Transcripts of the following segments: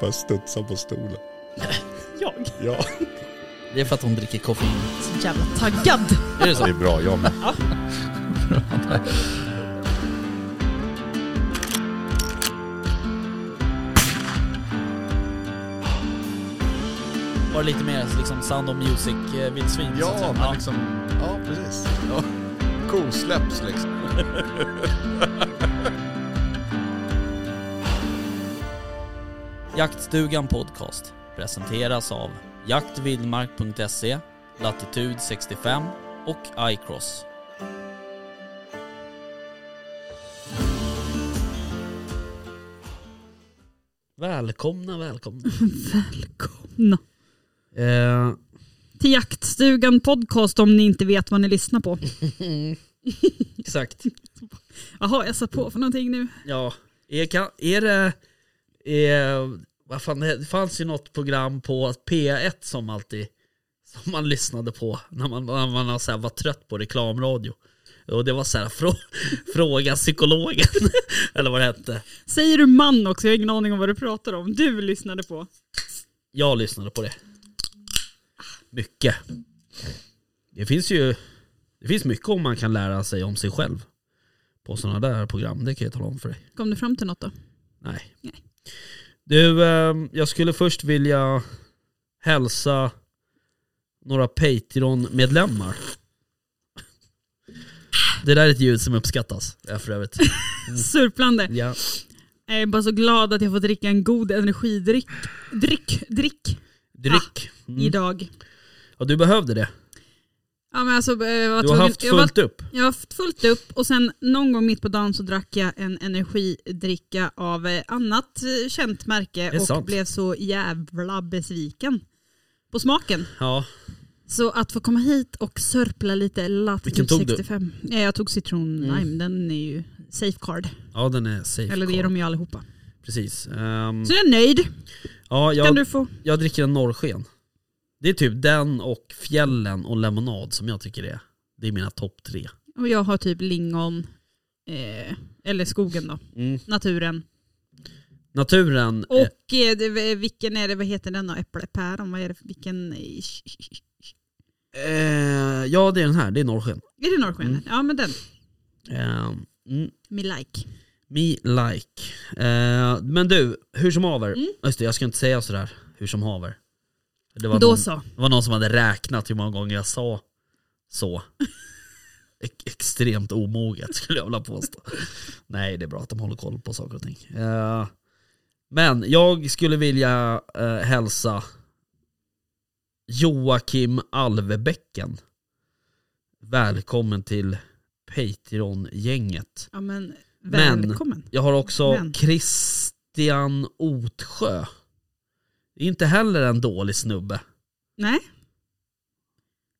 Bara studsar på stolen. Jag? Ja, Det är för att hon dricker koffein. Så jävla taggad. Är det så? det är bra jag med. Var det lite mer liksom Sound of eh, Music-vildsvin? Ja, men liksom... Ja, precis. Ja. Kosläpps liksom. Jaktstugan Podcast presenteras av jaktvildmark.se, Latitude 65 och iCross. Välkomna, välkomna. Välkomna Eh, till Jaktstugan Podcast om ni inte vet vad ni lyssnar på. exakt. Jaha, jag satt på för någonting nu. Ja, är, kan, är det... Är, vad fan, det fanns ju något program på P1 som alltid som man lyssnade på när man, när man så här var trött på reklamradio. Och det var så här, frå, fråga psykologen, eller vad det hette. Säger du man också? Jag har ingen aning om vad du pratar om. Du lyssnade på. Jag lyssnade på det. Mycket. Det finns ju det finns mycket om man kan lära sig om sig själv på sådana där program, det kan jag tala om för dig. Kom du fram till något då? Nej. Nej. Du, ehm, jag skulle först vilja hälsa några Patreon-medlemmar. Det där är ett ljud som uppskattas, ja, för övrigt. Surplande. Ja. Jag är bara så glad att jag får dricka en god energidryck dryck, dryck Dryck. Mm. idag. Ja, du behövde det. Ja, men alltså, eh, jag var Du har tvungen- haft jag var, fullt upp. jag har haft fullt upp och sen någon gång mitt på dagen så drack jag en energidricka av eh, annat eh, känt märke är och sant. blev så jävla besviken på smaken. Ja. Så att få komma hit och sörpla lite Vilken Latitude tog du? 65. Du? Jag tog citron lime, den är ju safeguard. ja, den är safe. Eller det är call. de ju allihopa. Precis. Ehm, Så jag är nöjd. ja, Kan jag, du få? jag dricker en norrsken. Det är typ den och fjällen och lemonad som jag tycker är. Det är mina topp tre. Och jag har typ lingon, eh, eller skogen då, Mm. naturen. Naturen. eh, Och eh, det, vilken är det, vad heter den då? Äpple, päron, vad är det, för- vilken? Eh, ja, det är den här. Det är norrsken. Är det norrskenet? Mm. Ja men den, Eh, mm, me like. me like. Eh, men du, hur som haver. Mm. Just det, jag ska inte säga sådär. Hur som haver. Det var, Då någon, så. det var någon som hade räknat hur många gånger jag sa så. Ek- extremt omoget skulle jag vilja påstå. Nej, det är bra att de håller koll på saker och ting. Eh, men jag skulle vilja eh, hälsa Joakim Alvebäcken. Välkommen till Patreon-gänget. Ja men Men- välkommen. Jag har också Men. Christian Otsjö. Det är Inte heller en dålig snubbe. Nej,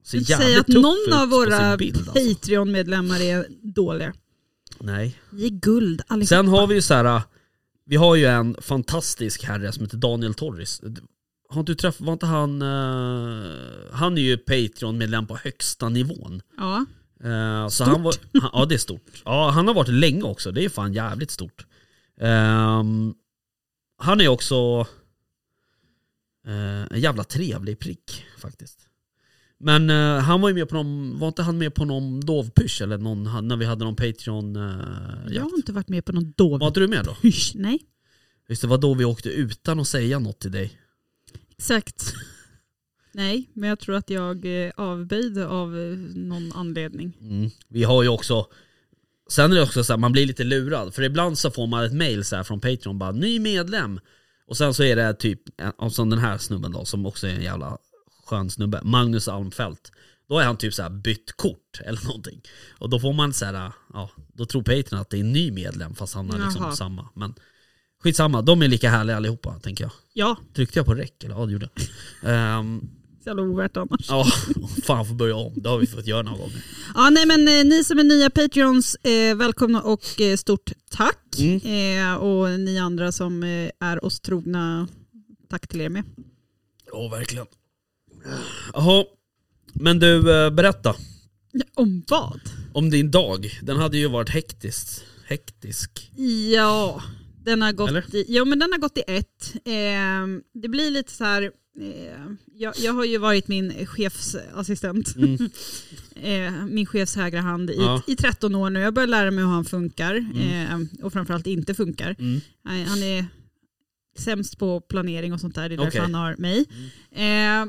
Så jag jävligt säga att tuff någon ut av på våra sin bild, alltså. Patreon-medlemmar är dåliga. Nej. Vi är guld allihopa. Sen har vi ju så här, äh, vi har ju en fantastisk herre som heter Daniel Torres. Har inte du träffat, var inte han, eh, han är ju Patreon-medlem på högsta nivån. Ja. Eh, så han var, han, ja det är stort. Ja, han har varit länge också, det är fan jävligt stort. Ehm, han är också eh, en jävla trevlig prick faktiskt. Men eh, han var ju med på någon, var inte han med på någon dovpysch eller någon, han- när vi hade någon Patreon-jakt? Jag har inte varit med på någon Var dovpysch. inte du med då? Nej, Just det, var då vi åkte utan att säga något till dig. exakt. Nej, men jag tror att jag eh, avböjde av eh, någon anledning. Mm. Vi har ju också Sen är det också så här, man blir lite lurad. För ibland så får man ett mail så här från Patreon, bara ny medlem. Och sen så är det typ, eh, som den här snubben då, som också är en jävla skön snubbe, Magnus Almfelt. Då är han typ så här bytt kort eller någonting. Och då får man så här, eh, ja, då tror Patreon att det är en ny medlem fast han har liksom Jaha. samma. Men skitsamma, de är lika härliga allihopa tänker jag. Ja, Tryckte jag på räck eller? Ja det gjorde jag. Ehm, så jävla ovärt annars. Ja, fan får börja om. Det har vi fått göra några gånger. Ja, nej men eh, ni som är nya Patreons, eh, välkomna och eh, stort tack. Mm. Eh, och ni andra som eh, är oss trogna, tack till er med. Ja, verkligen. Jaha, men du eh, berätta Ja, Om vad? om din dag. Den hade ju varit hektisk. Hektisk. Ja, Den har gått, Eller? I, jo, men den har gått i ett. Ehm, det blir lite så här, eh, jag, jag har ju varit min chefsassistent, Mm. eh, min chefs högra hand i, Ja. i 13 år nu. Jag börjar lära mig hur han funkar eh, och framförallt inte funkar. Mm. Nej, han är sämst på planering och sånt där, det är därför Okej. Mm. han har mig. Eh,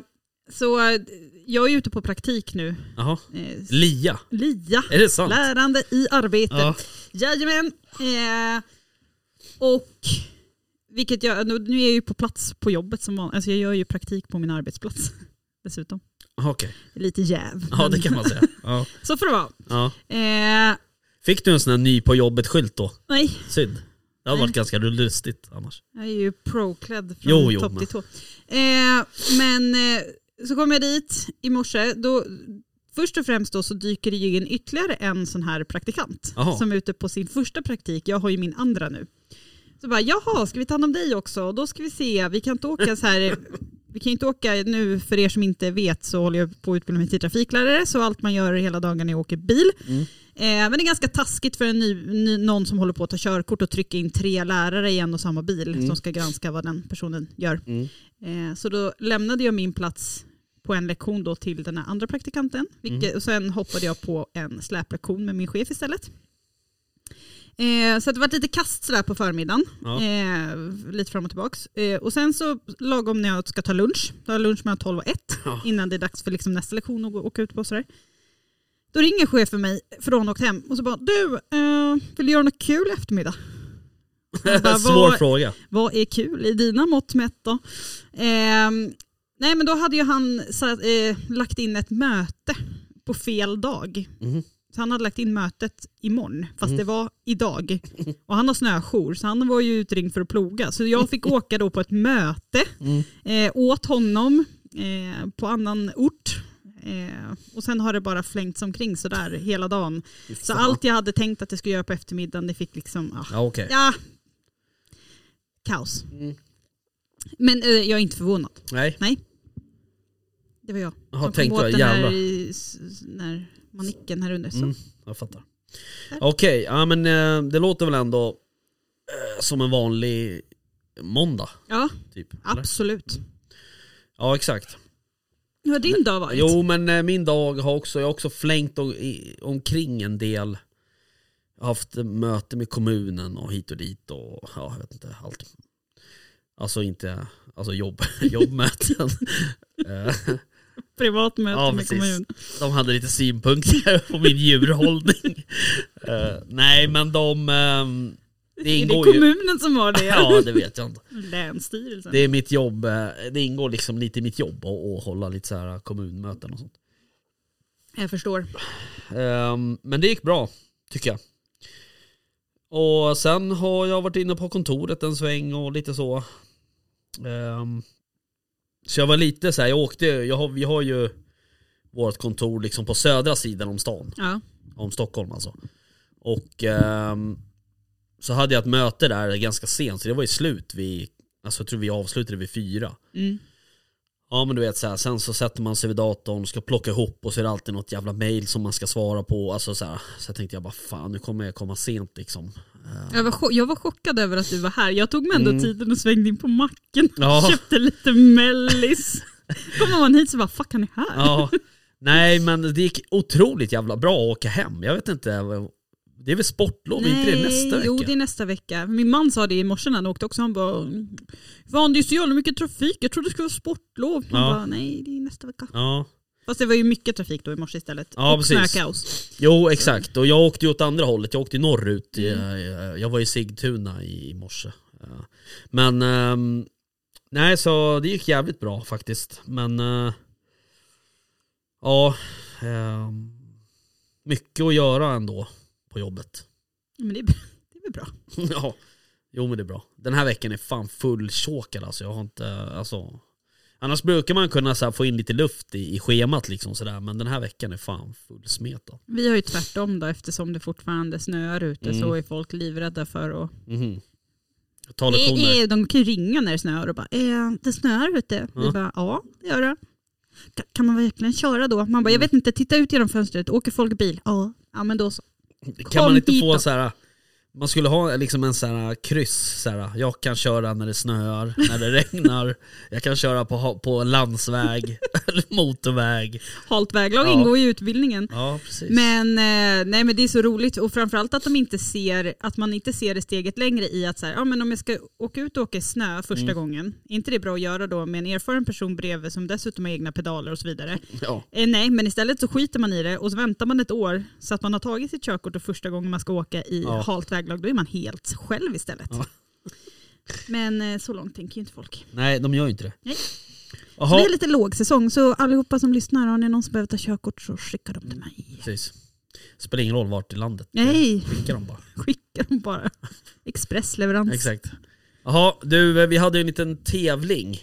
så eh, jag är ute på praktik nu. Jaha. Eh, s- Lia, LIA, är det sant? lärande i arbetet. Ja. Jajamän. Eh, och vilket jag, nu nu är jag ju på plats på jobbet som vanligt. Alltså jag gör ju praktik på min arbetsplats dessutom. Aha, Okej, Lite jäv. ja det kan man säga. Ja. Så får det vara. Ja. Eh, Fick du en sån här ny på jobbet-skylt då? nej, Synd. Det hade Nej. varit ganska lustigt annars. jag är ju procled från Jo, jo, topp men- till tå. Eh, men eh, så kom jag dit i morse. Då, först och främst då så dyker det ju in ytterligare en sån här praktikant Jaha. som är ute på sin första praktik. Jag har ju min andra nu. Så bara, jaha, ska vi ta hand om dig också? Och då ska vi se, vi kan inte åka så här, vi kan ju inte åka nu, för er som inte vet så håller jag på att utbilda mig till trafiklärare, så allt man gör hela dagen är att åka bil. Eh, men det är ganska taskigt för en ny, ny, någon som håller på att ta körkort och trycka in tre lärare i en och samma bil som ska granska vad den personen gör. Eh, så då lämnade jag min plats på en lektion då till den här andra praktikanten. Vilket, Mm. och sen hoppade jag på en släplektion med min chef istället. Eh, så att det var lite kast sådär på förmiddagen. Ja. Eh, lite fram och tillbaks. Eh, och sen så lagom när jag ska ta lunch, då har jag lunch mellan 12 och 1 Ja. innan det är dags för liksom nästa lektion att gå- åka ut på och sådär. Då ringer chefen mig, för då har hon åkt hem, och så bara du, eh, vill du göra något kul i eftermiddag? Jag bara, Svår "Vad- fråga. vad är kul i dina mått mätt då? Ehm, nej men då hade ju han satt, eh, lagt in ett möte på fel dag. Mhm. Så han hade lagt in mötet imorgon, fast det var idag. Och han har snöjour, så han var ju utringd för att ploga. Så jag fick åka då på ett möte eh, åt honom eh, på annan ort. Eh, och sen har det bara flängts omkring sådär hela dagen. Så allt jag hade tänkt att jag skulle göra på eftermiddagen, det fick liksom... Ah, Ja, okej. Ja. Kaos. Mm. Men eh, jag är inte förvånad. Nej. Det var jag Jaha, som kom tänkte åt jag, den här, jävlar. i- s- s- här manicken här under. Så. Mm, jag fattar. Okej, ja men eh, det låter väl ändå eh, som en vanlig måndag. Ja, Typ. eller? absolut. Ja exakt. Hur har din dag varit? Jo men eh, min dag har också, jag har också flängt o- i, omkring en del. Jag har haft möte med kommunen och hit och dit och ja, jag vet inte allt. Alltså inte, alltså jobb, jobbmöten. Eh, Privat möte Ja, med precis. kommun. De hade lite synpunkter på min djurhållning. Eh, nej men de, ehm, det Är det ingår ju. kommunen som har det? Ja det vet jag inte. Länsstyrelsen? Det är mitt jobb, eh, det ingår liksom lite i mitt jobb att att hålla lite så här kommunmöten och sånt. Jag förstår. Ehm, men det gick bra, tycker jag. Och sen har jag varit inne på kontoret en sväng och lite så. Ehm, så jag var lite så här, jag åkte, jag har, vi har ju vårt kontor liksom på södra sidan om stan, Ja. om Stockholm alltså. Och ehm, så hade jag ett möte där ganska sent, så det var ju slut vid, alltså jag tror vi avslutade vid fyra. Mm. Ja men du vet så här, sen så sätter man sig vid datorn, ska plocka ihop och så är det alltid något jävla mail som man ska svara på. Alltså så här, så jag tänkte jag bara fan nu kommer jag komma sent liksom. Eh, Jag, var chock- jag var chockad över att du var här. Jag tog mig ändå Mm. tiden och svängde in på macken. Ja. Köpte lite mellis. Kommer man hit så bara fuck han är här. Ja, nej men det gick otroligt jävla bra att åka hem. Jag vet inte, det är väl sportlov, är inte det nästa vecka? Eh, Jo, det är nästa vecka. Min man sa det i morse när han åkte också. Han bara, fan det är så jävla mycket trafik. Jag trodde det skulle vara sportlov. Han Ja. bara, nej det är nästa vecka. Ja, Fast det var ju mycket trafik då i morse istället. Ja, och precis. snökaos. jo exakt. Och jag åkte ju åt andra hållet, jag åkte norrut. Jag, jag var i Sigtuna i i morse. Ja. Men ehm, nej så det gick jävligt bra faktiskt. Men eh, ja, ehm, mycket att göra ändå på jobbet. Men det är, det är väl bra. ja, jo men det är bra. Den här veckan är fan fullchokad alltså. Jag har inte, alltså. Annars brukar man kunna så här, få in lite luft i, i schemat liksom sådär. Men den här veckan är fan fullsmetad. Vi har ju tvärtom då eftersom det fortfarande snöar ute Mm. så är folk livrädda för att... Mhm. Jag tar lektioner. Eh, eh, De kan ju ringa när det snöar och bara, eh, det snöar ute. Vi Ja. bara, ja det gör det. "Ka- Kan man verkligen köra då? Man bara, jag vet inte, titta ut genom fönstret, åker folk bil? Ja, ja men då så. Kan Kom man inte hit få då. så här Man skulle ha liksom en sån här kryss, så här, jag kan köra när det snöar, när det regnar, jag kan köra på, ha- på landsväg eller motorväg. Halt väglag Ja. ingår i utbildningen. Ja, precis. Men, eh, nej, men det är så roligt och framförallt att, de inte ser, att man inte ser det steget längre i att så här, ja, men om jag ska åka ut och åka i snö första Mm. gången, är inte det bra att göra då med en erfaren person bredvid som dessutom har egna pedaler och så vidare? ja. Eh, nej, men istället så skiter man i det och så väntar man ett år så att man har tagit sitt körkort och första gången man ska åka i Ja. halt väglag, då är man helt själv istället. Ja. Men eh, så långt tänker ju inte folk. Nej, de gör ju inte det. Nej. Så Jaha. det är lite lågsäsong, så allihopa som lyssnar, har ni någon som behöver ta körkort så skicka Mm. dem till mig. Precis. Spelar ingen roll vart i landet. Nej, Skickar de bara. skicka dem bara. Expressleverans. Exakt. Jaha, du, eh, vi hade ju en liten tävling.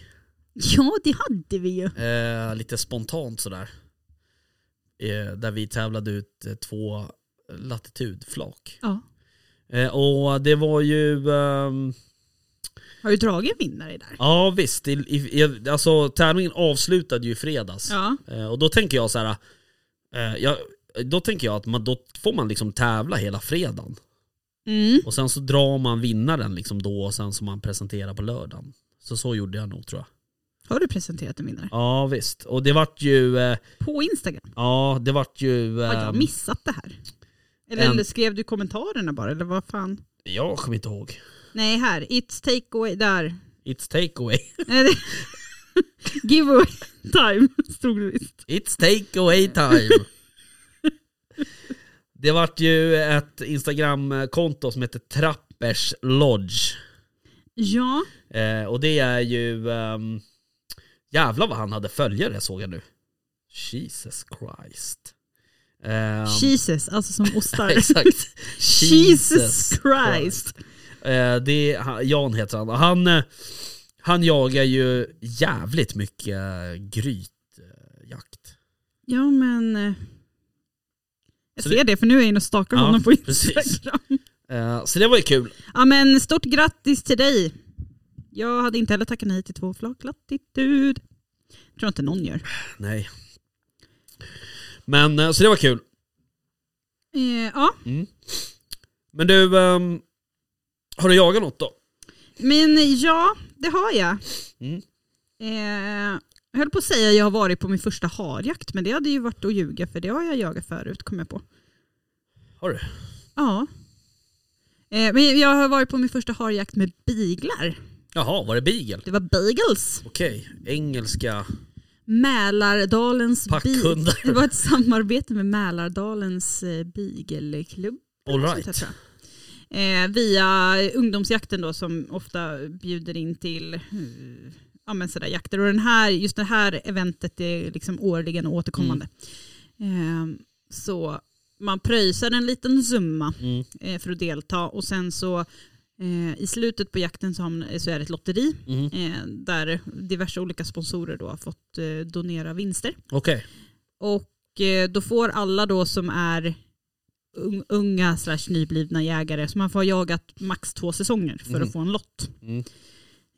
Ja, det hade vi ju. Eh, lite spontant sådär. Eh, där vi tävlade ut eh, två latitudflak. Ja. Eh, och det var ju... ehm, Har du dragit en vinnare där? ja visst, i, i, i, alltså tävlingen avslutade ju i fredags. Ja. Eh, och då tänker jag så här. Eh, jag, då tänker jag att man, då får man liksom tävla hela fredagen. Mm. Och sen så drar man vinnaren liksom då och sen som man presenterar på lördagen. Så så gjorde jag nog tror jag. Har du presenterat en vinnare? Ja visst. Och det vart ju, eh, På Instagram? ja det vart ju... Har jag ehm, missat det här? Eller, en- eller skrev du kommentarerna bara? Eller vad fan? jag kommer inte ihåg. Nej, här. It's takeaway. Där. It's takeaway. Nej, det- Giveaway time stod det visst. It's takeaway time. det vart ju ett Instagramkonto som heter Trappers Lodge. Ja, Eh, och det är ju... Um, jävlar vad han hade följare såg jag nu. Jesus Christ. Ehm, Jesus, alltså som ostar. Exakt. Jesus Christ. Eh, det är, han- Jan heter han. Och Han, eh, han jagar ju jävligt mycket eh, grytjakt. Ja men... eh, Jag Så ser det, för nu är jag inne och stalkar Ja, honom på precis. Instagram. Eh, så det var ju kul. Ja men stort grattis till dig. Jag hade inte heller tackat nej till två flak latitud. Tror inte någon gör. Nej. Men eh, så det var kul. Eh, ja, Men du, ehm, har du jagat något då? men ja, det har jag. Mm. Eh, jag höll på att säga att jag har varit på min första harjakt, men det hade ju varit att ljuga för det har jag jagat förut kom jag på. Har du? Ja. Eh, men jag har varit på min första harjakt med biglar. Jaha, var det beagle? Det var beagles. Okej, engelska Mälardalens bi- Det packhundar. var ett samarbete med Mälardalens eh, beagleklubb. All Sånt här, right. tror jag. Eh, via ungdomsjakten då som ofta bjuder in till eh, ja, men sådär, jakter. Och den här, just det här eventet är liksom årligen och återkommande. Mm. Eh, så man pröjsar en liten summa Mm. eh, för att delta och sen så eh, i slutet på jakten så, har man, så är det ett lotteri Mm. eh, där diverse olika sponsorer då har fått eh, donera vinster. Okej. Och eh, då får alla då som är un- unga slash nyblivna jägare, så man får ha jagat max två säsonger för Mm. att få en lott. Mm.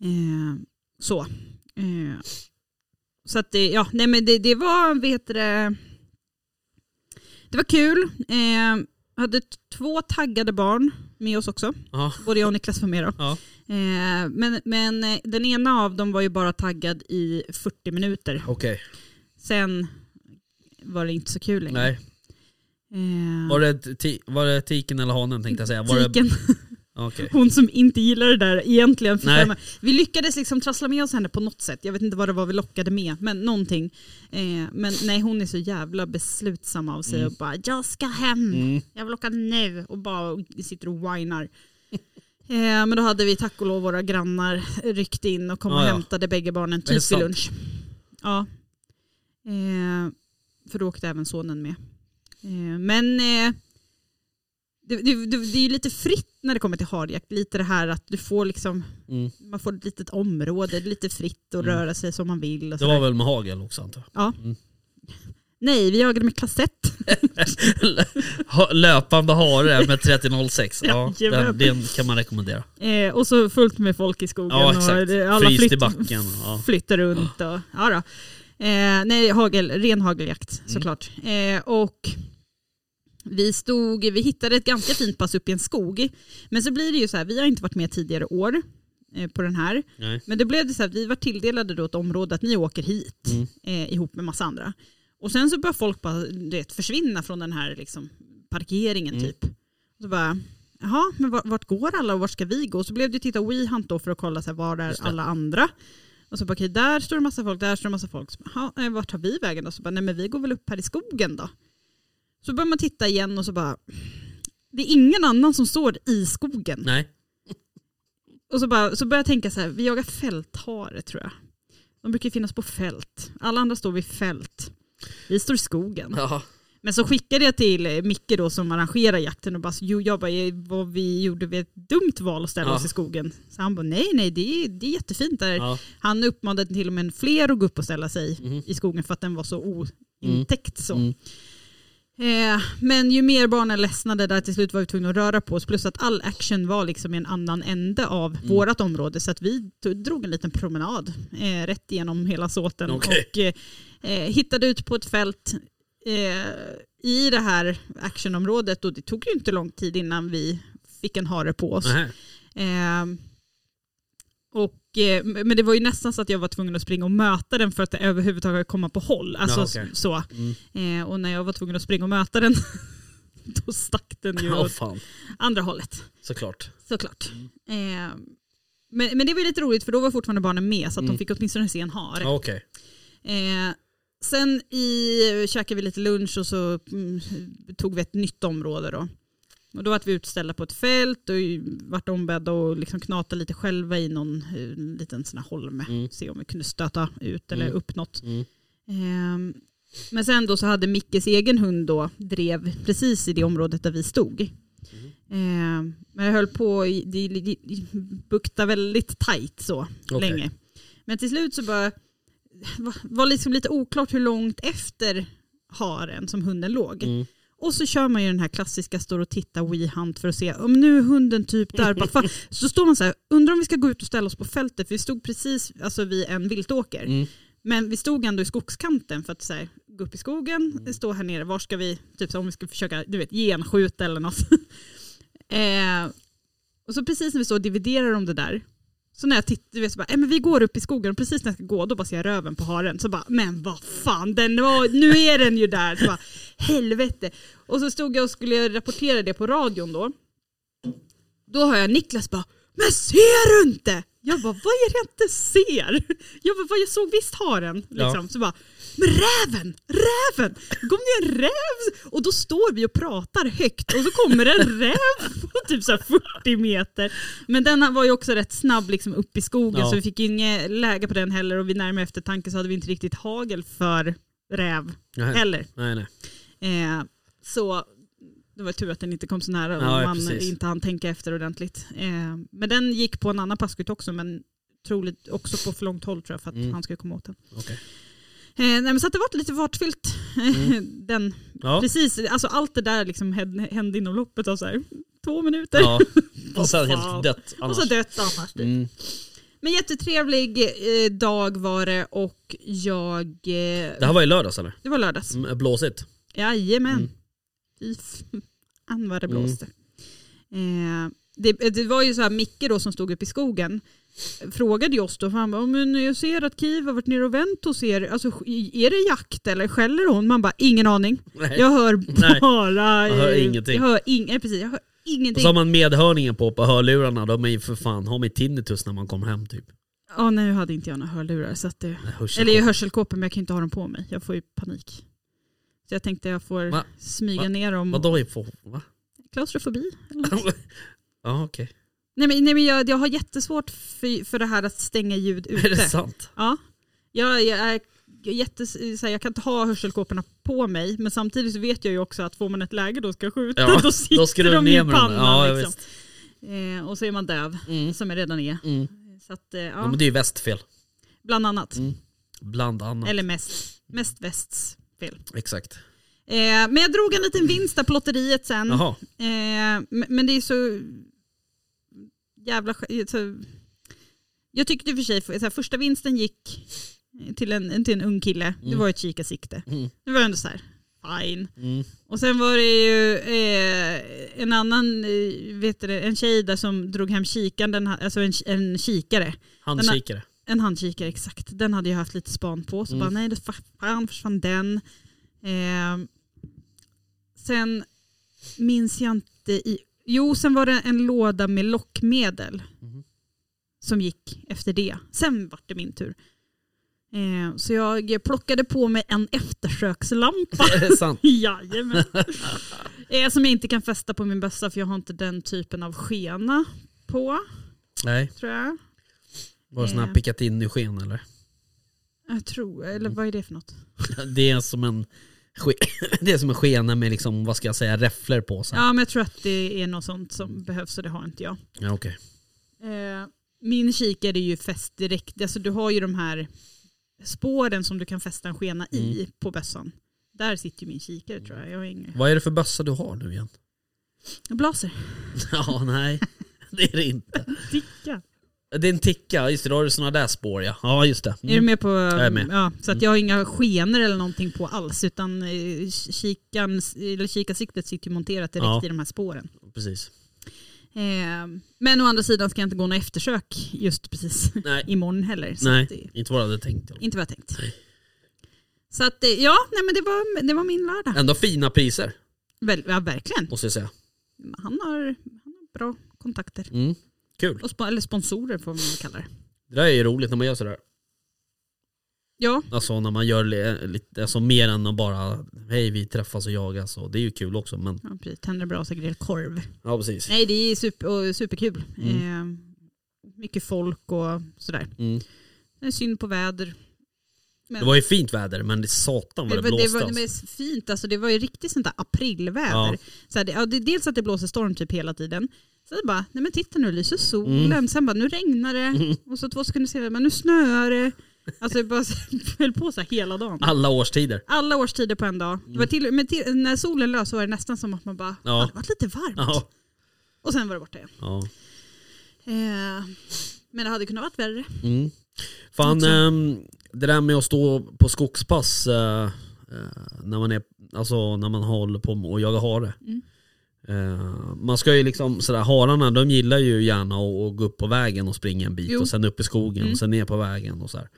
Eh, så. Eh, så att det, ja, nej men det, det var, vet du det, det var kul. Eh, hade t- två taggade barn med oss också. Ja. Både jag och Niklas var med då. Ja. Eh, men, men eh, den ena av dem var ju bara taggad i 40 minuter. Okej. Sen var det inte så kul längre. Nej. Eh, Var det, ti- var det tiken eller hanen tänkte jag säga? Var det... Tiken, Okej. hon som inte gillar det där egentligen. För Nej. fem- Vi lyckades liksom trassla med oss henne på något sätt. Jag vet inte vad det var vi lockade med, men någonting. Eh, men nej, hon är så jävla beslutsam av sig och bara “jag ska hem, Mm. jag vill åka nu” och bara sitter och whinar. Eh, men då hade vi tack och lov våra grannar ryckt in och kom Ja, och ja. hämtade bägge barnen Är det typ vid sant? lunch. Ja. Eh, för då åkte även sonen med. Eh, men eh, det, det, det, det är ju lite fritt när det kommer till harjakt. Lite det här att du får liksom, Mm. man får ett litet område, det är lite fritt och Mm. röra sig som man vill. Och Det var sådär. väl med hagel också antar jag. Nej, vi jagade med klassett. Ha- Löpande hare med 3006. Ja, den, Jajamän. den kan man rekommendera. Eh, och så fullt med folk i skogen. Ja, exakt. Och det- alla Fryst i flytt, backen, ja. flyttar runt. Och, ja då. Eh, nej, hagel, ren hageljakt såklart. Eh, och Vi, stod, vi hittade ett ganska fint pass upp i en skog. Men så blir det ju så här, vi har inte varit med tidigare år eh, på den här. Nej. Men det blev det så här, vi var tilldelade då ett område att ni åker hit Mm. eh, ihop med massa andra. Och sen så började folk bara du vet, försvinna från den här liksom, parkeringen Mm. typ. Och så bara, jaha, men vart, vart går alla och vart ska vi gå? Och så blev det ju titta WeHunt då för att kolla så här, var är Just det. alla andra? Och så bara, okej, där står det massa folk, där står det massa folk. Så bara, "Jaha, eh, vart tar vi vägen då? Så bara, nej men vi går väl upp här i skogen då. Så börjar man titta igen och så bara, det är ingen annan som står i skogen. Nej. Och så, bara, så började jag tänka så här, vi jagar fälthare tror jag. De brukar ju finnas på fält. Alla andra står vid fält. Vi står i skogen. Ja. Men så skickade jag till eh, Micke då som arrangerar jakten och bara, så, jo jag bara, eh, vad vi gjorde vi ett dumt val att ställa Ja. oss i skogen. Så han bara, nej nej det är, det är jättefint där. Ja. Han uppmanade till och med fler att gå upp och ställa sig i skogen för att den var så ointäckt. Så. Mhm. Mm. Eh, men ju mer barnen ledsnade där till slut var vi tvungna att röra på oss. Plus att all action var liksom i en annan ände av Mm. vårt område. Så att vi to- drog en liten promenad eh, rätt igenom hela såten. Okej. Och eh, eh, hittade ut på ett fält eh, i det här actionområdet. Och det tog ju inte lång tid innan vi fick en hare på oss. Nähä. Ehm, och, eh, men det var ju nästan så att jag var tvungen att springa och möta den för att överhuvudtaget komma på håll. Alltså, Ja, okej. Mm. så. Eh, och när jag var tvungen att springa och möta den då stack den ju Ja, Mm. åt fan. andra hållet Såklart. såklart. Ehm, men, men det var ju lite roligt för då var fortfarande barnen med så Mm. att de fick åtminstone se en hare. Ja, Okej. Eh, sen i, käkade vi lite lunch och så mm, tog vi ett nytt område då. Och då var vi utställda på ett fält och ju- vart ombedda att liksom knata lite själva i någon eh, liten sån här holme. Se om vi kunde stöta ut eller upp något. Mm. Eh, men sen då så hade Mickes egen hund då drev precis i det området där vi stod. Mm. Eh, men jag höll på, i- det det- det buktade väldigt tajt så Okej. länge. Men till slut så bara va- var liksom lite oklart hur långt efter haren som hunden låg. Mm. Och så kör man ju den här klassiska står och tittar WeHunt för att se om nu är hunden typ där. Bara, fan. Så står man så här, undrar om vi ska gå ut och ställa oss på fältet för vi stod precis alltså, vid en viltåker. Mm. Men vi stod ändå i skogskanten för att så här, gå upp i skogen, Mm. stå här nere, var ska vi, typ så om vi ska försöka du vet, genskjuta eller något. eh, och så precis när vi står och dividerar om det där, så när jag tittar, du vet, så bara, "Eh, men vi går upp i skogen och precis när jag ska gå då bara ser jag röven på haren. Så bara, men vad fan, den var, nu är den ju där. Så bara, helvete. Och så stod jag och skulle rapportera det på radion då. Då hör jag Niklas bara, men ser du inte? Jag bara, vad är det jag inte ser? Jag bara, vad jag såg visst haren. Liksom. Så bara, men räven, räven, kom det en räv? Och då står vi och pratar högt och så kommer en räv på typ så här 40 meter. Men den var ju också rätt snabb liksom upp i skogen Ja. så vi fick ju inget läge på den heller och vid närmare eftertanke så hade vi inte riktigt hagel för räv Nej. heller. Nej, nej. Eh, så det var tur att den inte kom så nära och Ja, ja, man precis. inte hann tänka efter ordentligt. Eh, men den gick på en annan passkytt också men troligt också på för långt håll tror jag för att Mm. han skulle komma åt den. Okej. Eh, nej, men så att det var lite fartfyllt. den, Mm. Ja. Precis, alltså allt det där liksom hände, hände inom loppet av så här, två minuter. ja. Och sen Fan. helt dött Och annars. så dött annars. typ. Mm. Men jättetrevlig eh, dag var det och jag... Eh, Det här var i lördags eller? det var lördags. Mm, Blåsigt. Jajamän. Mm. Fy fan vad det blåste. Eh, det, det var ju så här Micke då som stod uppe i skogen eh, frågade ju oss då, för han bara, men jag ser att Kiv har varit nere och vänt hos er, alltså, är det jakt eller skäller hon? Man bara, ingen aning. Nej. Jag hör Nej. bara... Jag hör eh, ingenting. Jag hör, ing, nej, precis, jag hör Och ingenting. så har man medhörningen på på hörlurarna. De är ju för fan, har man ju tinnitus när man kommer hem typ. Ja, nej, nu hade inte jag några hörlurar. Så att det, Hörsel- eller jag har hörselkåpor men jag kan inte ha dem på mig. Jag får ju panik. Så jag tänkte jag får Va? smyga Va? ner dem. Vadå är på? Va? Klaustrofobi. Eller något. ja okej. Nej men, nej, men jag, jag har jättesvårt för, för det här att stänga ljud Är det ute. sant? Ja. Jag, jag, är jättes, så här, jag kan inte ha hörselkåporna på mig men samtidigt så vet jag ju också att får man ett läge då ska jag skjuta Ja, då sitter då ska du de ner i med dem. pannan. Ja, ja, liksom. eh, och så är man döv Mm. som jag redan är. Mm. Så att, eh, Ja, ja, men Mm. det är ju västfel. bland annat. Bland annat. Eller mest, mest västs fel. Exakt. Eh, men jag drog en liten vinst där på lotteriet sen. Jaha. Eh, men men det är så jävla... sk- Så, jag tyckte i och för sig, så här, första eh, vinsten gick till en, till en ung kille. Det var ju ett kikarsikte. Mm. Det var ändå så här, fine. Mm. Och sen var det ju eh, en annan eh, vet du, det, en tjej där som drog hem kikaren, den, ha- alltså en, en kikare. Handkikare. En handkikare exakt. Den hade jag haft lite span på. Så Mm. bara nej, det fa- fan försvann den. Eh, sen minns jag inte i... Jo, sen var det en låda med lockmedel. Mhm. Som gick efter det. Sen var det min tur. Eh, så jag plockade på mig en eftersökslampa. Är det sant? Jajamän. eh, som jag inte kan fästa på min bössa för jag har inte den typen av skena på. Nej. Tror jag. Var det sån här Eh. Picatinny-sken eller? Jag tror, eller vad är det för något? Det är som en ske- det är som en skena med liksom, vad ska jag säga, räfflor på sig. Ja men jag tror att det är något sånt Mm. som behövs och det har inte jag. Ja, okej. Eh, min kikare är ju fäst direkt, alltså du har ju de här spåren som du kan fästa en skena i Mm. på bössan. Där sitter ju min kikare tror jag. Jag har inga. Vad är det för bössa du har nu igen? Blaser. Ja, nej. Det är det inte. Ticka. Det är en ticka, just det, då har du såna där spår ja. Ja, just det. Är du Mm. med på? Jag är med. Mm. Ja, så att jag har inga skenor eller någonting på alls utan eh, kikans, eller kikarsiktet sitter ju monterat direkt Ja. i de här spåren. Mm. Precis. Eh, men å andra sidan ska jag inte gå några eftersök just precis Nej. imorgon heller. Så Nej, att det, inte vad jag hade tänkt. Inte vad jag tänkt. Nej. Så att eh, ja, nej men det var, det var min lördag. Ändå fina priser, Väl, ja, verkligen. måste jag säga. Han har, han har bra kontakter. Mm. Kul. Och spa, eller sponsorer får man väl kalla det. Det där är ju roligt när man gör sådär. Ja, Alltså när man gör li- lite, alltså mer än att bara, hej vi träffas och jagas och det är ju kul också men, ja precis. Tänder bra så grillad korv. ja precis. Nej det är super, och superkul. Eh, mycket folk och sådär. Mm. Det är synd på väder. Men, Det var ju fint väder men det satan vad det, det, var, det, blåste var, det alltså. var fint, alltså, det var ju riktigt sånt där aprilväder. Ja. Så här, det, ja, det, dels att det blåser storm typ hela tiden. Sen bara, nej men titta nu lyser solen, Mm. sen bara nu regnar det. Och så två sekunder senare, men nu snöar det. Alltså det bara höll på så här hela dagen. Alla årstider. Alla årstider på en dag. Det var till, men till, när solen lös så var det nästan som att man bara, Mm. Ja. ja. det var lite varmt. Ja. Och sen var det borta igen. ja. Eh, men det hade kunnat varit värre. Mm. Fan, Också. ehm, det där med att stå på skogspass eh, eh, när, man är, alltså, när man håller på med att jaga hare. Mm. Eh, man ska ju liksom, sådär, hararna de gillar ju gärna att, att gå upp på vägen och springa en bit Jo. och sen upp i skogen Mm. och sen ner på vägen och sådär.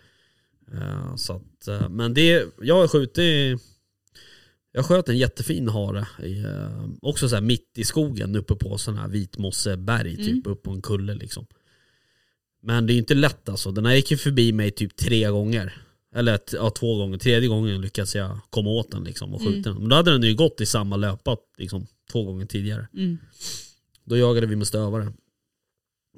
Eh, så att, eh, men det, jag har skjutit jag sköt en jättefin hare, i, eh, också så här mitt i skogen uppe på sån här vitmosseberg, Mm. typ upp på en kulle liksom. Men det är ju inte lätt alltså. Den här gick ju förbi mig typ tre gånger. Eller t- ja, två gånger. Tredje gången lyckades jag komma åt den liksom och skjuta Mm. den. Men då hade den ju gått i samma löpa liksom, två gånger tidigare. Då jagade vi med stövare.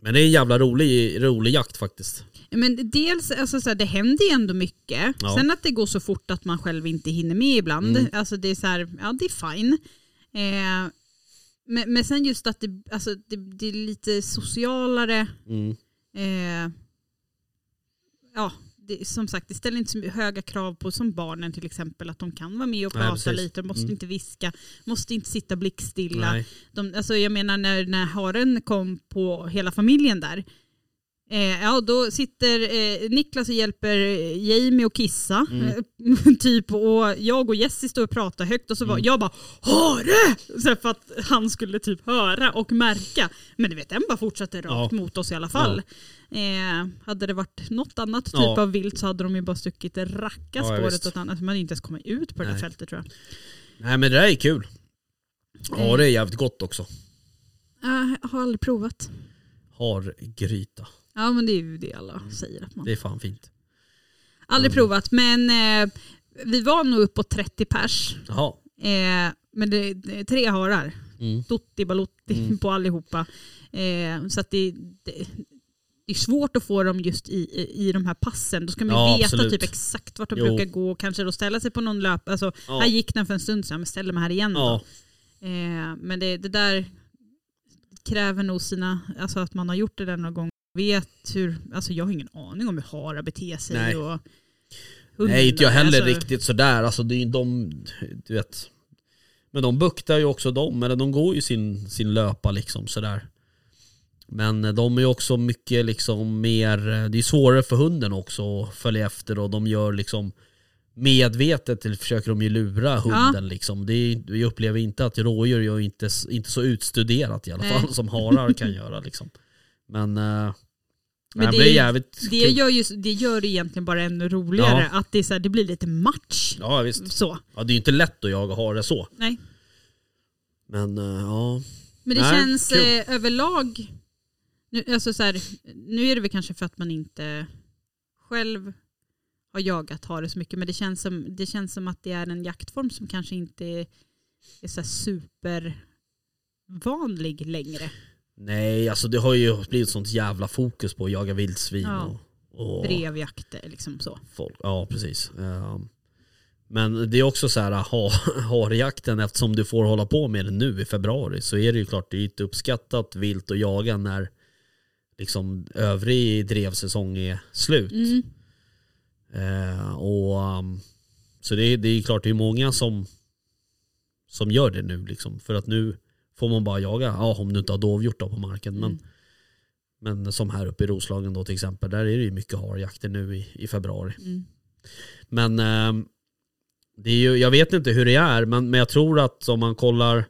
Men det är en jävla rolig, rolig jakt faktiskt. Men dels, alltså så här, det händer ju ändå mycket. Ja. Sen att det går så fort att man själv inte hinner med ibland. Mm. Alltså det är så här, ja det är fine. Eh, men, men sen just att det, alltså det, det är lite socialare. Mm. Eh, ja, det, som sagt det ställer inte så höga krav på som barnen till exempel. Att de kan vara med och Nej, prata precis. lite, de måste Mm. inte viska, måste inte sitta blickstilla. Nej. De, alltså jag menar när, när haren kom på hela familjen där. Eh, ja, då sitter eh, Niklas och hjälper eh, Jamie och kissa. Mm. Eh, typ, och jag och Jessie står och pratar högt och så Mm. var jag bara hare! Så här, för att han skulle typ höra och märka. Men du vet, den bara fortsatte rakt Ja. mot oss i alla fall. Eh, hade det varit något annat typ Ja. av vilt så hade de ju bara stuckit det racka Ja, spåret visst. åt annat. Alltså, man hade inte ens kommit ut på det där Nej. fältet tror jag. Nej men det där är kul. Ja det är jävligt gott också. jag har aldrig provat. Hargryta. Ja men det är ju det alla säger att man Mm. Det är fan fint. Aldrig provat, men eh, vi var nog uppåt 30 pers. Jaha. Eh, men det, det är tre harar. Mm. Dotti Balotti Mm. på allihopa. Eh, så att det, det, det är svårt att få dem just i, i- i de här passen. Då ska man ju Ja, veta absolut. typ exakt vart de Jo. brukar gå och kanske då ställa sig på någon löp. Alltså, Ja. Här gick den för en stund sedan, men ställer mig här igen. då. Ja. Eh, men det, det där kräver nog sina, alltså att man har gjort det där någon gång. Vet hur, alltså jag har ingen aning om hur harar beter sig. Nej. Och Nej inte jag heller alltså, riktigt sådär, alltså det är ju de, du vet Men de buktar ju också de, eller de går ju sin, sin löpa liksom sådär Men eh, de är ju också mycket liksom mer, eh, det är svårare för hunden också att följa efter och de gör liksom medvetet till- försöker de ju lura hunden liksom. Det är, vi upplever inte att rådjur gör inte, s- inte så utstuderat i alla Nej. fall som harar kan göra liksom. Men, eh, nej, men det det, är ju- är jävligt Det kul. gör, ju, det gör det egentligen bara ännu roligare att det, är så här, det blir lite match. Ja visst. Så. Ja, det är ju inte lätt att jaga hare så. Nej. Men eh, ja. Men det Nej, känns kul. eh, överlag, nu, alltså så här, nu är det väl kanske för att man inte själv har jagat hare så mycket men det känns, som, det känns som att det är en jaktform som kanske inte är, är så här supervanlig längre. Nej, alltså det har ju blivit sånt jävla fokus på att jaga vildsvin Ja. och, och Brevjakter liksom så. folk. Ja, precis. Ehm, men det är också så här, ha, harjakten eftersom du får hålla på med det nu i februari så är det ju klart det är ett uppskattat vilt att jaga när liksom övrig drevsäsong är slut. Mm. Eh, och, um, så det, är- det är klart det är många som, som gör det nu. Liksom, för att nu får man bara jaga, ja, om du inte har dovhjort då på marken. Men, Mm. men som här uppe i Roslagen då till exempel, där är det ju mycket harjakter nu i, i februari. Mm. Men ehm, det är ju, jag vet inte hur det är, men, men jag tror att om man kollar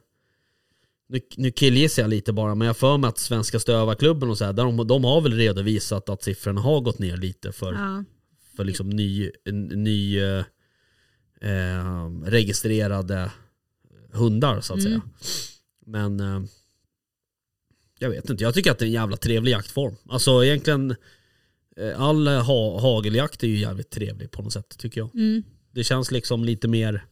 nu, nu killgissar jag lite bara, men jag har för mig att Svenska Stövarklubben och så här, där de, de har väl redovisat att siffrorna har gått ner lite för, Ja. Mm. för liksom ny, n- ny eh, eh, registrerade hundar så att Mm. säga. Men eh, jag vet inte, jag tycker att det är en jävla trevlig jaktform. Alltså egentligen eh, all ha, hageljakt är ju jävligt trevlig på något sätt tycker jag. Mm. Det känns liksom lite mer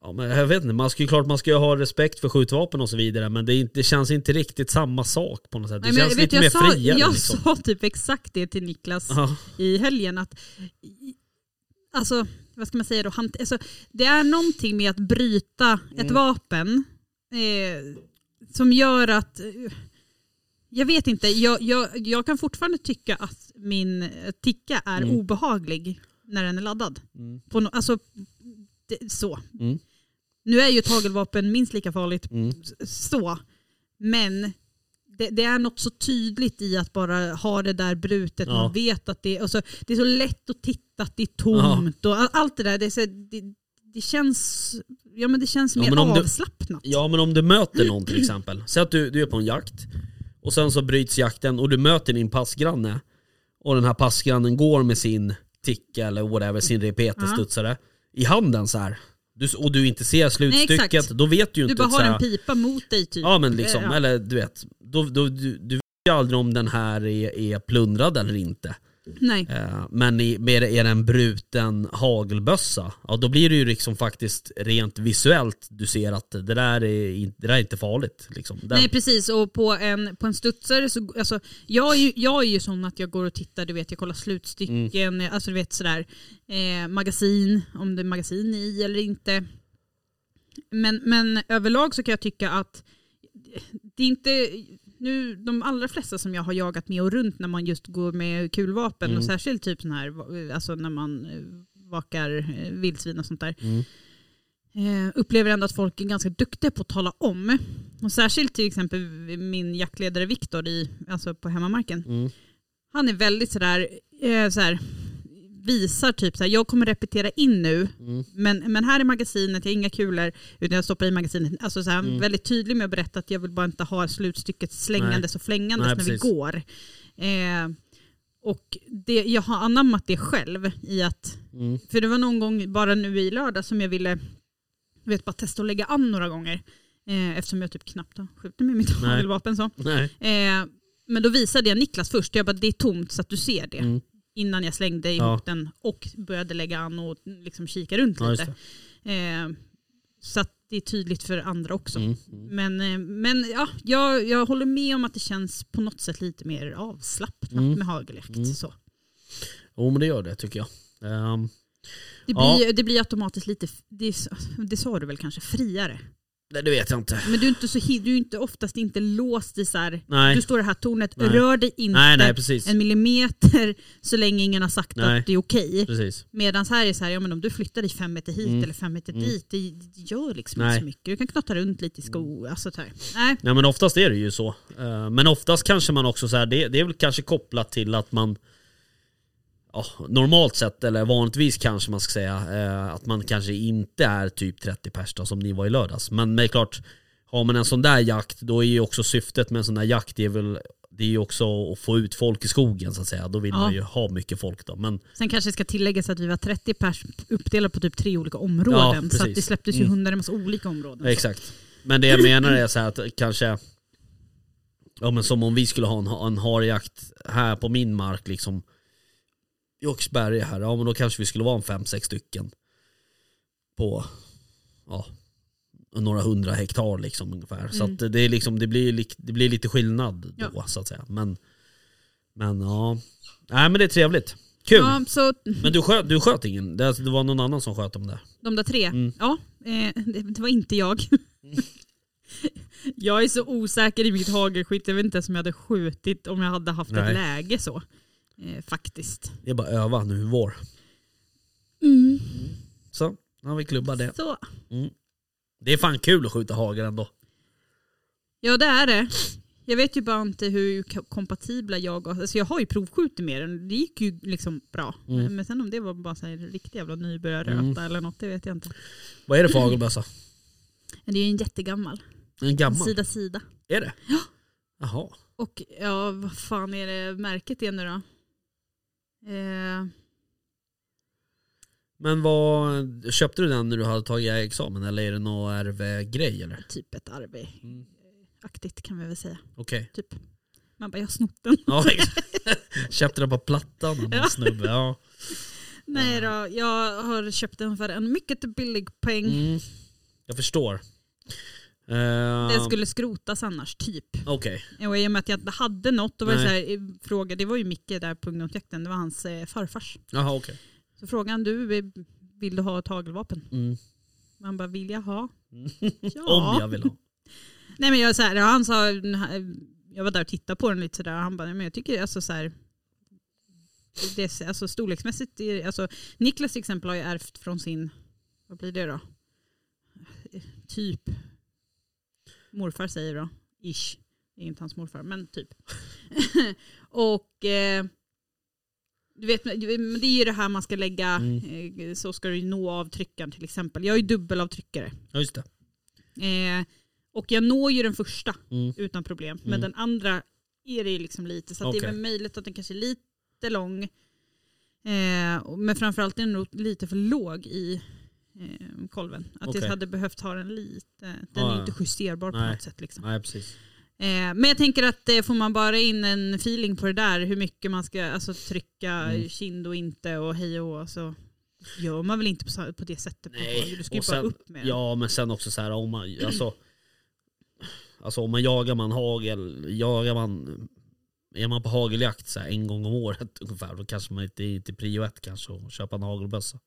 Ja, men jag vet inte, man ska ju klart man ska ju ha respekt för skjutvapen och så vidare men det, är inte, det känns inte riktigt samma sak på något sätt. Det Nej, men känns vet lite du, mer jag sa, friare Jag liksom. sa typ exakt det till Niklas Ja. i helgen. Att, i- alltså, vad ska man säga då? Han, alltså, det är någonting med att bryta Mm. ett vapen eh, som gör att... eh, Jag vet inte, jag, jag, jag kan fortfarande tycka att min eh, ticka är Mm. obehaglig när den är laddad. Mm. På no, alltså, det, så. Mm. Nu är ju tagelvapen minst lika farligt Mm. så. Men det, det är något så tydligt i att bara ha det där brutet. Ja. Man vet att det, och så, det är så lätt att titta att det är tomt. Och all- allt det där, det, är så, det, det känns, ja, men det känns Ja, mer men om du- avslappnat. Ja men om du möter någon till exempel, säg att du, du är på en jakt och sen så bryts jakten och du möter din passgranne och den här passgrannen går med sin ticka eller whatever, sin repeterstudsare i handen så här. Du, och du inte ser slutstycket, exakt. då vet du ju du inte bara att så har här, en pipa mot dig typ. Ja men liksom, Eh, ja. eller du vet, då, då, du, du vet ju aldrig om den här är, är plundrad eller inte. Nej. Eh, Men i- med- är det en bruten hagelbössa, ja då blir det ju liksom faktiskt rent visuellt du ser att det där är, in- det där är inte farligt. Liksom. Den, Nej precis och på en, på en studsare så, alltså, jag, är ju, jag är ju sån att jag går och tittar, du vet jag kollar slutstycken, alltså du vet sådär, eh, magasin, om det är magasin i eller inte. Men, men överlag så kan jag tycka att det är inte, nu de allra flesta som jag har jagat med och runt när man just går med kulvapen och särskilt typ sån här, alltså när man eh, vakar eh, vildsvin och sånt där. Eh, upplever ändå att folk är ganska duktiga på att tala om. Och särskilt till exempel min jaktledare Viktor i- alltså på hemmamarken. Mm. Han är väldigt sådär, eh, såhär, visar typ såhär, jag kommer repetera in nu, Mm, men, men här är magasinet, jag har inga kulor, utan jag stoppar i magasinet. Alltså såhär, Mm. Han är väldigt tydlig med att berätta att jag vill bara inte ha slutstycket slängandes och flängandes Nej, när precis. vi går. Eh, och det, jag har anammat det själv i att, Mm. för det var någon gång bara nu i lördag som jag ville jag vet, bara testa att lägga an några gånger. Eh, eftersom jag typ knappt har skjutit med mitt Nej. hagelvapen. Så. Nej. Eh, men då visade jag Niklas först, jag bara det är tomt så att du ser det. Mm. Innan jag slängde ihop Ja. den och började lägga an och liksom kika runt Ja, just lite. Eh, så att det är tydligt för andra också. Mm. Men, eh, men ja, jag, jag håller med om att det känns på något sätt lite mer avslappnat Mm. med hageljakt. Mm. Så. Jo men det gör det tycker jag. Ehm, Det, Ja. blir, det blir automatiskt lite, f- det, är- det sa du väl kanske, friare. nej det vet jag inte. Men du är, inte så, hi- du är inte oftast inte låst i så här, Nej, du står i det här tornet, Nej. rör dig inte nej, nej precis. en millimeter så länge ingen har sagt Nej. att det är okej. precis. Medan här är det så här, ja men om du flyttar dig fem meter hit Mm. eller fem meter Mm. dit, det, det gör liksom Nej. Mm. inte så mycket. Du kan knotta runt lite i skor. Alltså, så här. Nej. Nej men oftast är det ju så. Eh, Men oftast kanske man också så här, det, det är väl kanske kopplat till att man ja, normalt sett, eller vanligtvis kanske man ska säga, eh, att man kanske inte är typ 30 pers då, som ni var i lördags. Men det är klart, har man en sån där jakt, då är ju också syftet med en sån där jakt, det är väl det är ju också att få ut folk i skogen så att säga. Då vill Ja. man ju ha mycket folk då. Men Sen kanske det ska tilläggas att vi var 30 pers uppdelade på typ tre olika områden. Ja, så att det precis. släpptes ju Mm. hundar i en massa olika områden. Exakt. Men det jag menar är så här att kanske, ja men som om vi skulle ha en, en harjakt här på min mark liksom, i Oxberga här, ja men då kanske vi skulle vara en fem, sex stycken på, ja, några hundra hektar liksom ungefär. Så Mm. att det, är liksom, det, blir, lik- det blir lite skillnad då Ja. så att säga. Men, men ja, nej men det är trevligt. Kul! Ja, så Men du sköt, du sköt ingen, det det var någon annan som sköt om det. de där tre. Ja, eh, det, det var inte jag. jag är så osäker i mitt hagelskytt. Jag vet inte ens om jag hade skjutit om jag hade haft ett Nej. läge så. Eh, faktiskt. Det är bara öva nu i vår. Så, nu har vi klubbat det. Så. Det är fan kul att skjuta hagel ändå. Ja det är det. Jag vet ju bara inte hur ko- kompatibla jag och, alltså jag har ju provskjutit med den, det gick ju liksom bra. Men sen om det var bara så här riktig jävla nybörjarröta eller något, det vet jag inte. Vad är det för hagelbössa? Men det är ju en jättegammal, En gammal? sida sida. Är det? Ja. Jaha. Och ja, vad fan är det märket är nu då? Eh, Men vad, köpte du den när du hade tagit examen eller är det någon RV-grej eller? typ ett arve-aktigt Mm. kan vi väl säga. Okej. Typ. Man bara, jag har snott den. Ja, exakt. köpte den på Plattan, en Ja. snubbe. Ja. Nej då, jag har köpt den för en mycket billig peng. Mm. Jag förstår. Uh, Den skulle skrotas annars, typ. Ehm, Okej. Och I och med att jag inte hade något, då var det så Nej. här, eh, fråga, det var ju Micke där på ungdomsjakten, det var hans eh, farfars. Jaha okej. Så frågade han, du, eh, vill du ha ett hagelvapen? Mm. Man bara, vill jag ha? Ja. Om jag vill ha. Nej men jag så här, ja, han sa, jag var där och tittade på den lite sådär, han bara, "Nej, men jag tycker alltså så här, det, är- alltså storleksmässigt, är, det- alltså Niklas till exempel har ju ärvt från sin, vad blir det då? Eh, Typ, morfar säger då, ish, det är inte hans morfar, men typ. och eh, du vet, men det är ju det här man ska lägga, eh, så ska du ju nå avtryckaren till exempel. Jag är ju dubbelavtryckare. Ja just det. Eh, och jag når ju den första Mm. utan problem. Men Mm. den andra är det ju liksom lite. Så att det är Okej. väl möjligt att den kanske är lite lång. Eh, och- men framförallt är den nog lite för låg i eh, kolven. Att Okej. jag hade behövt ha den lite. Den Ja, är ju ja. inte justerbar på Nej. något sätt. Liksom. Nej precis. Eh, men jag tänker att eh, får man bara in en feeling på det där. Hur mycket man ska alltså, trycka Mm. kind och inte och hej och hå, så gör man väl inte på, så- på det sättet. på Nej, en kolv. Du ska ju och bara sen- upp med den. Ja men sen också så här om man, alltså, alltså om man jagar man hagel, jagar man, är man på hageljakt så här en gång om året ungefär då kanske man inte är till prio ett kanske att köpa en hagelbössa.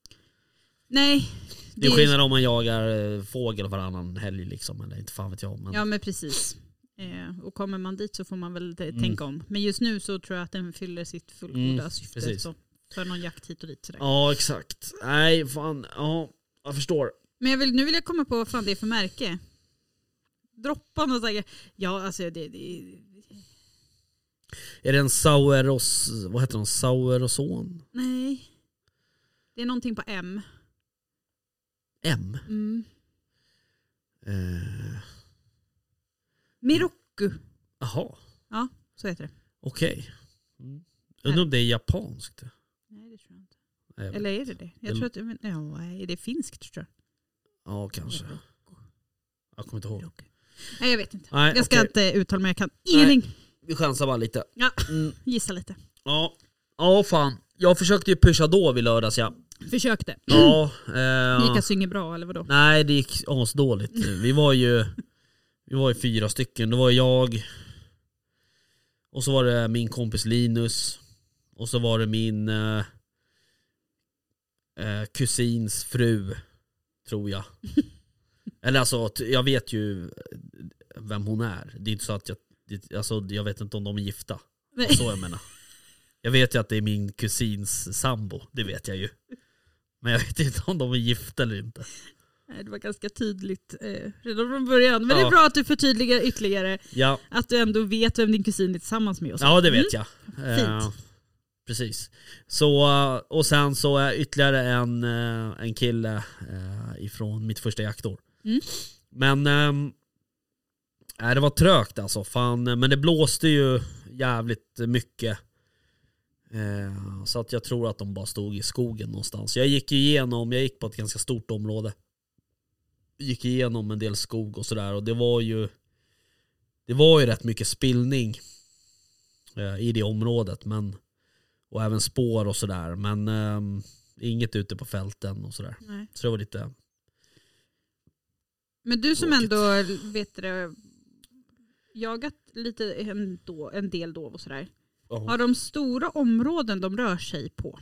Nej. Det är ju- skillnad om man jagar eh, fågel varannan helg liksom eller inte fan vet jag. Men, Ja men precis. Eh, och kommer man dit så får man väl eh, tänka om. Men just nu så tror jag att den fyller sitt fullgoda Mm, syfte. precis. Så, för någon jakt hit och dit. Sådär. ja exakt. Nej fan, ja jag förstår. Men jag vill, nu vill jag komma på vad fan det är för märke. Droppan och säga ja alltså det, det Är det en saueros, vad heter de, saueroson? nej. Det är någonting på M. M? Mm. Eh, Miroku, Jaha, så heter det. okej. Mm. Undrar om det är japanskt? Nej det tror jag inte. Nej, jag vet Eller är det det? Jag Det- tror att, men, ja, nej, det är finskt tror Ja, jag. kanske. Jag kommer inte ihåg. Miroku. Nej jag vet inte. Nej, Jag ska okej. inte uttala mig, jag kan Nej. ingenting. Vi chansar bara lite. Ja, Mm. gissa lite. Ja. ja, fan. Jag försökte ju pusha då vid lördags ja. Försökte. ja Ja. eh, Gick alltså inget bra eller vadå? nej, det gick asdåligt. Vi var ju vi var ju fyra stycken. Det var jag, och så var det min kompis Linus, och så var det min eh, eh, kusins fru, tror jag. Eller alltså, att jag vet ju vem hon är. Det är inte så att jag, det, alltså, jag vet inte om de är gifta. Nej. Och Så jag menar. Jag vet ju att det är min kusins sambo, det vet jag ju. Men jag vet inte om de är gifta eller inte. Nej, Det var ganska tydligt eh, redan från början. Men det är Ja. bra att du förtydligar ytterligare Ja, att du ändå vet vem din kusin är tillsammans med. Och så. Mm. ja det vet jag. Fint. Eh, Precis. Så, eh, och sen så är ytterligare en, eh, en kille eh, ifrån mitt första jaktår. Mm. Men ehm, nej, det var trögt alltså. Fan, eh, men det blåste ju jävligt mycket. Eh, så att jag tror att de bara stod i skogen någonstans. Jag gick igenom, jag gick på ett ganska stort område. Gick igenom en del skog och sådär och det var ju Det var ju rätt mycket spillning eh, i det området men och även spår och sådär. Men ehm, inget ute på fälten och sådär. Nej. Så det var lite... Men du som Tråkigt. ändå vet det, jagat lite en, då, en del dov och sådär. Har de stora områden de rör sig på?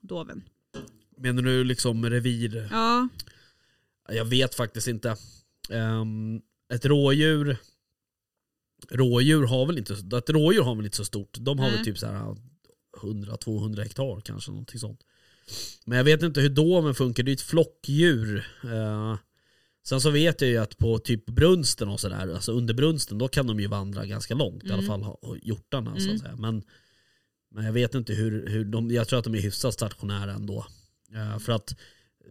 Doven. Menar du liksom revir? Ja, Jag vet faktiskt inte. Ehm, ett rådjur Rådjur har väl inte ett rådjur har väl inte så stort. De har Nej. väl typ så här 100-200 hektar kanske någonting sånt. Men jag vet inte hur doven funkar. Det är ett flockdjur. Eh, sen så vet jag ju att på typ brunsten och sådär, alltså under brunsten, då kan de ju vandra ganska långt. I alla Mm. fall ha- hjortarna så Mm. att säga. Men, men jag vet inte hur, hur de, jag tror att de är hyfsat stationära ändå. Eh, för att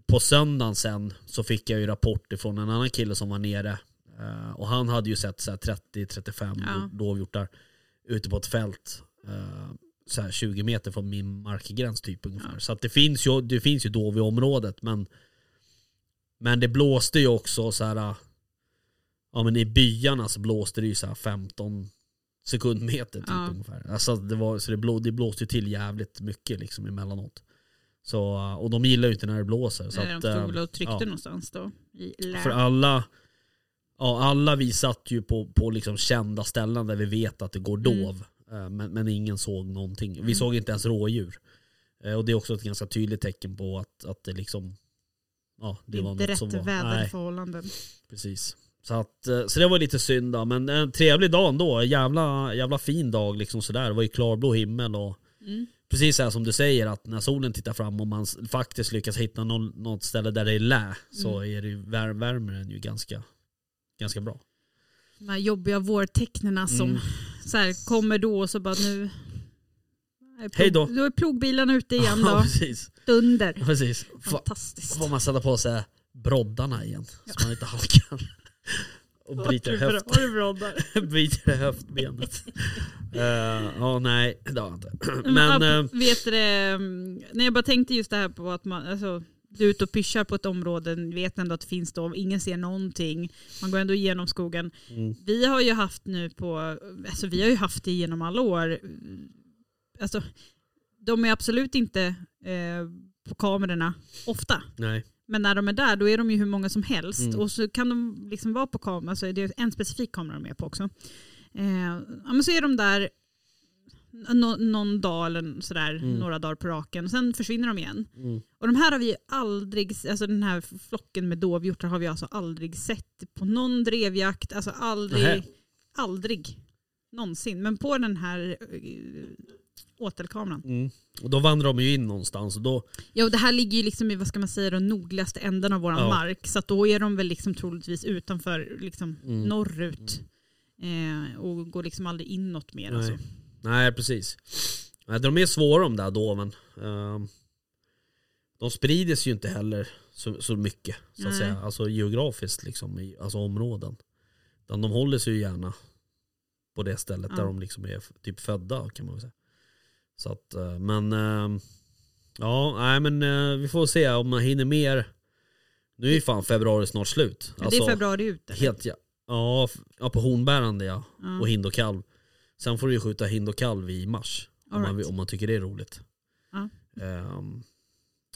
på söndagen sen så fick jag ju rapport ifrån en annan kille som var nere. Eh, och han hade ju sett så här 30-35 Ja. dovhjortar ute på ett fält. Eh, så här 20 meter från min markgräns typ ungefär. Ja. Så att det finns ju, det finns ju dov i området men men det blåste ju också så här eh, Ja men i byarna så blåste det ju så här 15 sekundmeter typ Ja. ungefär. Alltså det var, så det, blå, det blåste ju till jävligt mycket liksom emellanåt. Så, och de gillar ju inte när det blåser. Så så de att, stod eh, väl och tryckte ja. någonstans då. I lä. för alla, ja, alla vi satt ju på, på liksom kända ställen där vi vet att det går dov. Eh, Men, men ingen såg någonting. Vi Mm. såg inte ens rådjur. Eh, Och det är också ett ganska tydligt tecken på att, att det liksom, ja det, det är var inte något rätt som var... Nej, väderförhållanden. precis. Så, att, eh, så det var lite synd då, men en trevlig dag ändå. Jävla, jävla fin dag liksom sådär. Det var ju klarblå himmel och Mm. precis så här som du säger att när solen tittar fram och man s- faktiskt lyckas hitta någon, något ställe där det är lä så Mm. är det ju, vär, värmer den ju ganska, ganska bra. De här jobbiga vårtecknena som Mm. så här, kommer då och så bara nu... Nej, plog- Hej då. Då är plogbilarna ute igen Ja, då. precis. Dunder. precis. Får, Fantastiskt. får man sätta på sig broddarna igen så man inte halkar. Och bryter, höft, Har du bra där? bryter höftbenet. Eh, Ja, nej det har jag inte. Men, Men ja, eh, vet du, det, mm, nej, jag bara tänkte just det här på att man, alltså, du är ute och pyschar på ett område, ni vet ändå att det finns dov, ingen ser någonting, man går ändå igenom skogen. Mm. Vi har ju haft nu på, alltså vi har ju haft det genom alla år, mm, alltså de är absolut inte eh, på kamerorna ofta. nej. Men när de är där då är de ju hur många som helst. Mm. Och så kan de liksom vara på kamera, så är det en specifik kamera de är på också. Eh, ja, men så är de där nå- någon dag eller sådär, Mm. några dagar på raken. Sen försvinner de igen. Mm. Och de här har vi ju aldrig, alltså den här flocken med dovhjortar har vi alltså aldrig sett på någon drevjakt. Alltså aldrig, Nähä. aldrig någonsin. Men på den här eh, åtelkameran. Mm. Och då vandrar de ju in någonstans och då, Ja, och det här ligger ju liksom i vad ska man säga, den nordligaste änden av vår Ja. mark. Så att då är de väl liksom troligtvis utanför, liksom Mm. norrut. Eh, och går liksom aldrig inåt mer. Nej. Alltså. Nej, precis. Nej, De är svåra de där doven. Ehm, De sprider sig ju inte heller så, så mycket så att Nej. säga. Alltså geografiskt liksom, i, alltså områden. Utan de håller sig ju gärna på det stället Ja. där de liksom är f- typ födda kan man väl säga. Så att, eh, men ehm, ja, nej men eh, vi får se om man hinner mer. Nu är ju fan februari snart slut. Alltså, Men det är februari ut. eller? Helt ja. Ja, f- ja på hornbärande ja. Ja. Och hind och kalv. Sen får du ju skjuta hind och kalv i mars. Om All man, right. om man tycker det är roligt. Ja. Ehm,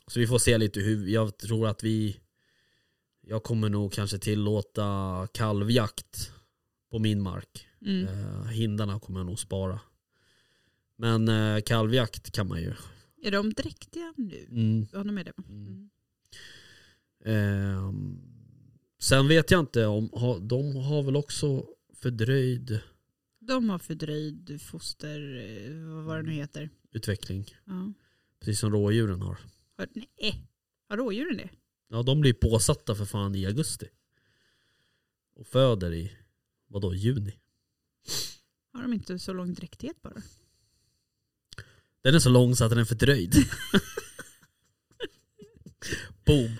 så vi får se lite hur, jag tror att vi Jag kommer nog kanske tillåta kalvjakt på min mark. Mm. Eh, hindarna kommer jag nog spara. Men eh, kalvjakt kan man ju. Är de dräktiga nu? Mm. Ja, de är det. va? Mm. Mm. Ehm, sen vet jag inte om, ha, de har väl också fördröjd De har fördröjd foster, eh, vad var det Mm. nu heter. utveckling. Ja. Precis som rådjuren har. Har, nej, har rådjuren det? Ja de blir ju påsatta för fan i augusti. Och föder i, vadå, juni? Har de inte så lång dräktighet bara? Den är så lång så att den är fördröjd. Boom.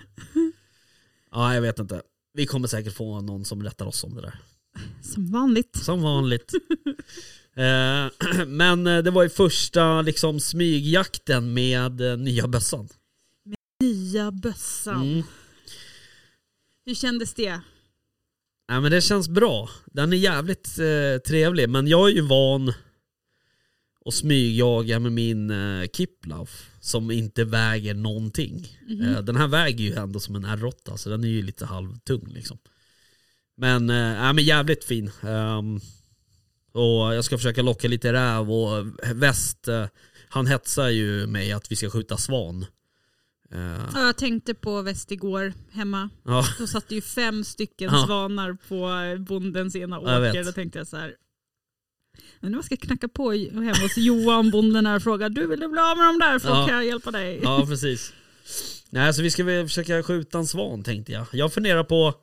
Ja, jag vet inte. Vi kommer säkert få någon som rättar oss om det där. Som vanligt. Som vanligt. Eh, Men eh, det var ju första liksom smygjakten med eh, nya bössan. Nya bössan. Mm. Hur kändes det? Nej men det känns bra. Den är jävligt eh, trevlig. Men jag är ju van att smygjaga med min eh, Kiplauf som inte väger någonting. Eh, den här väger ju ändå som en R8 så den är ju lite halvtung liksom. Men, eh, nej, men jävligt fin. Ehm, och jag ska försöka locka lite räv och väst, eh, han hetsar ju mig att vi ska skjuta svan. Eh, Ja, jag tänkte på väst igår hemma. ja. Då satt det ju fem stycken Ja. svanar på bondens ena Jag åker. vet. Då tänkte jag så här. Men nu ska jag knacka på hemma hos Johan, bonden här och fråga. Du vill du bli av med dem där? För då Ja. kan jag hjälpa dig. Ja, precis. Nej, så vi ska väl försöka skjuta en svan tänkte jag. Jag funderar på,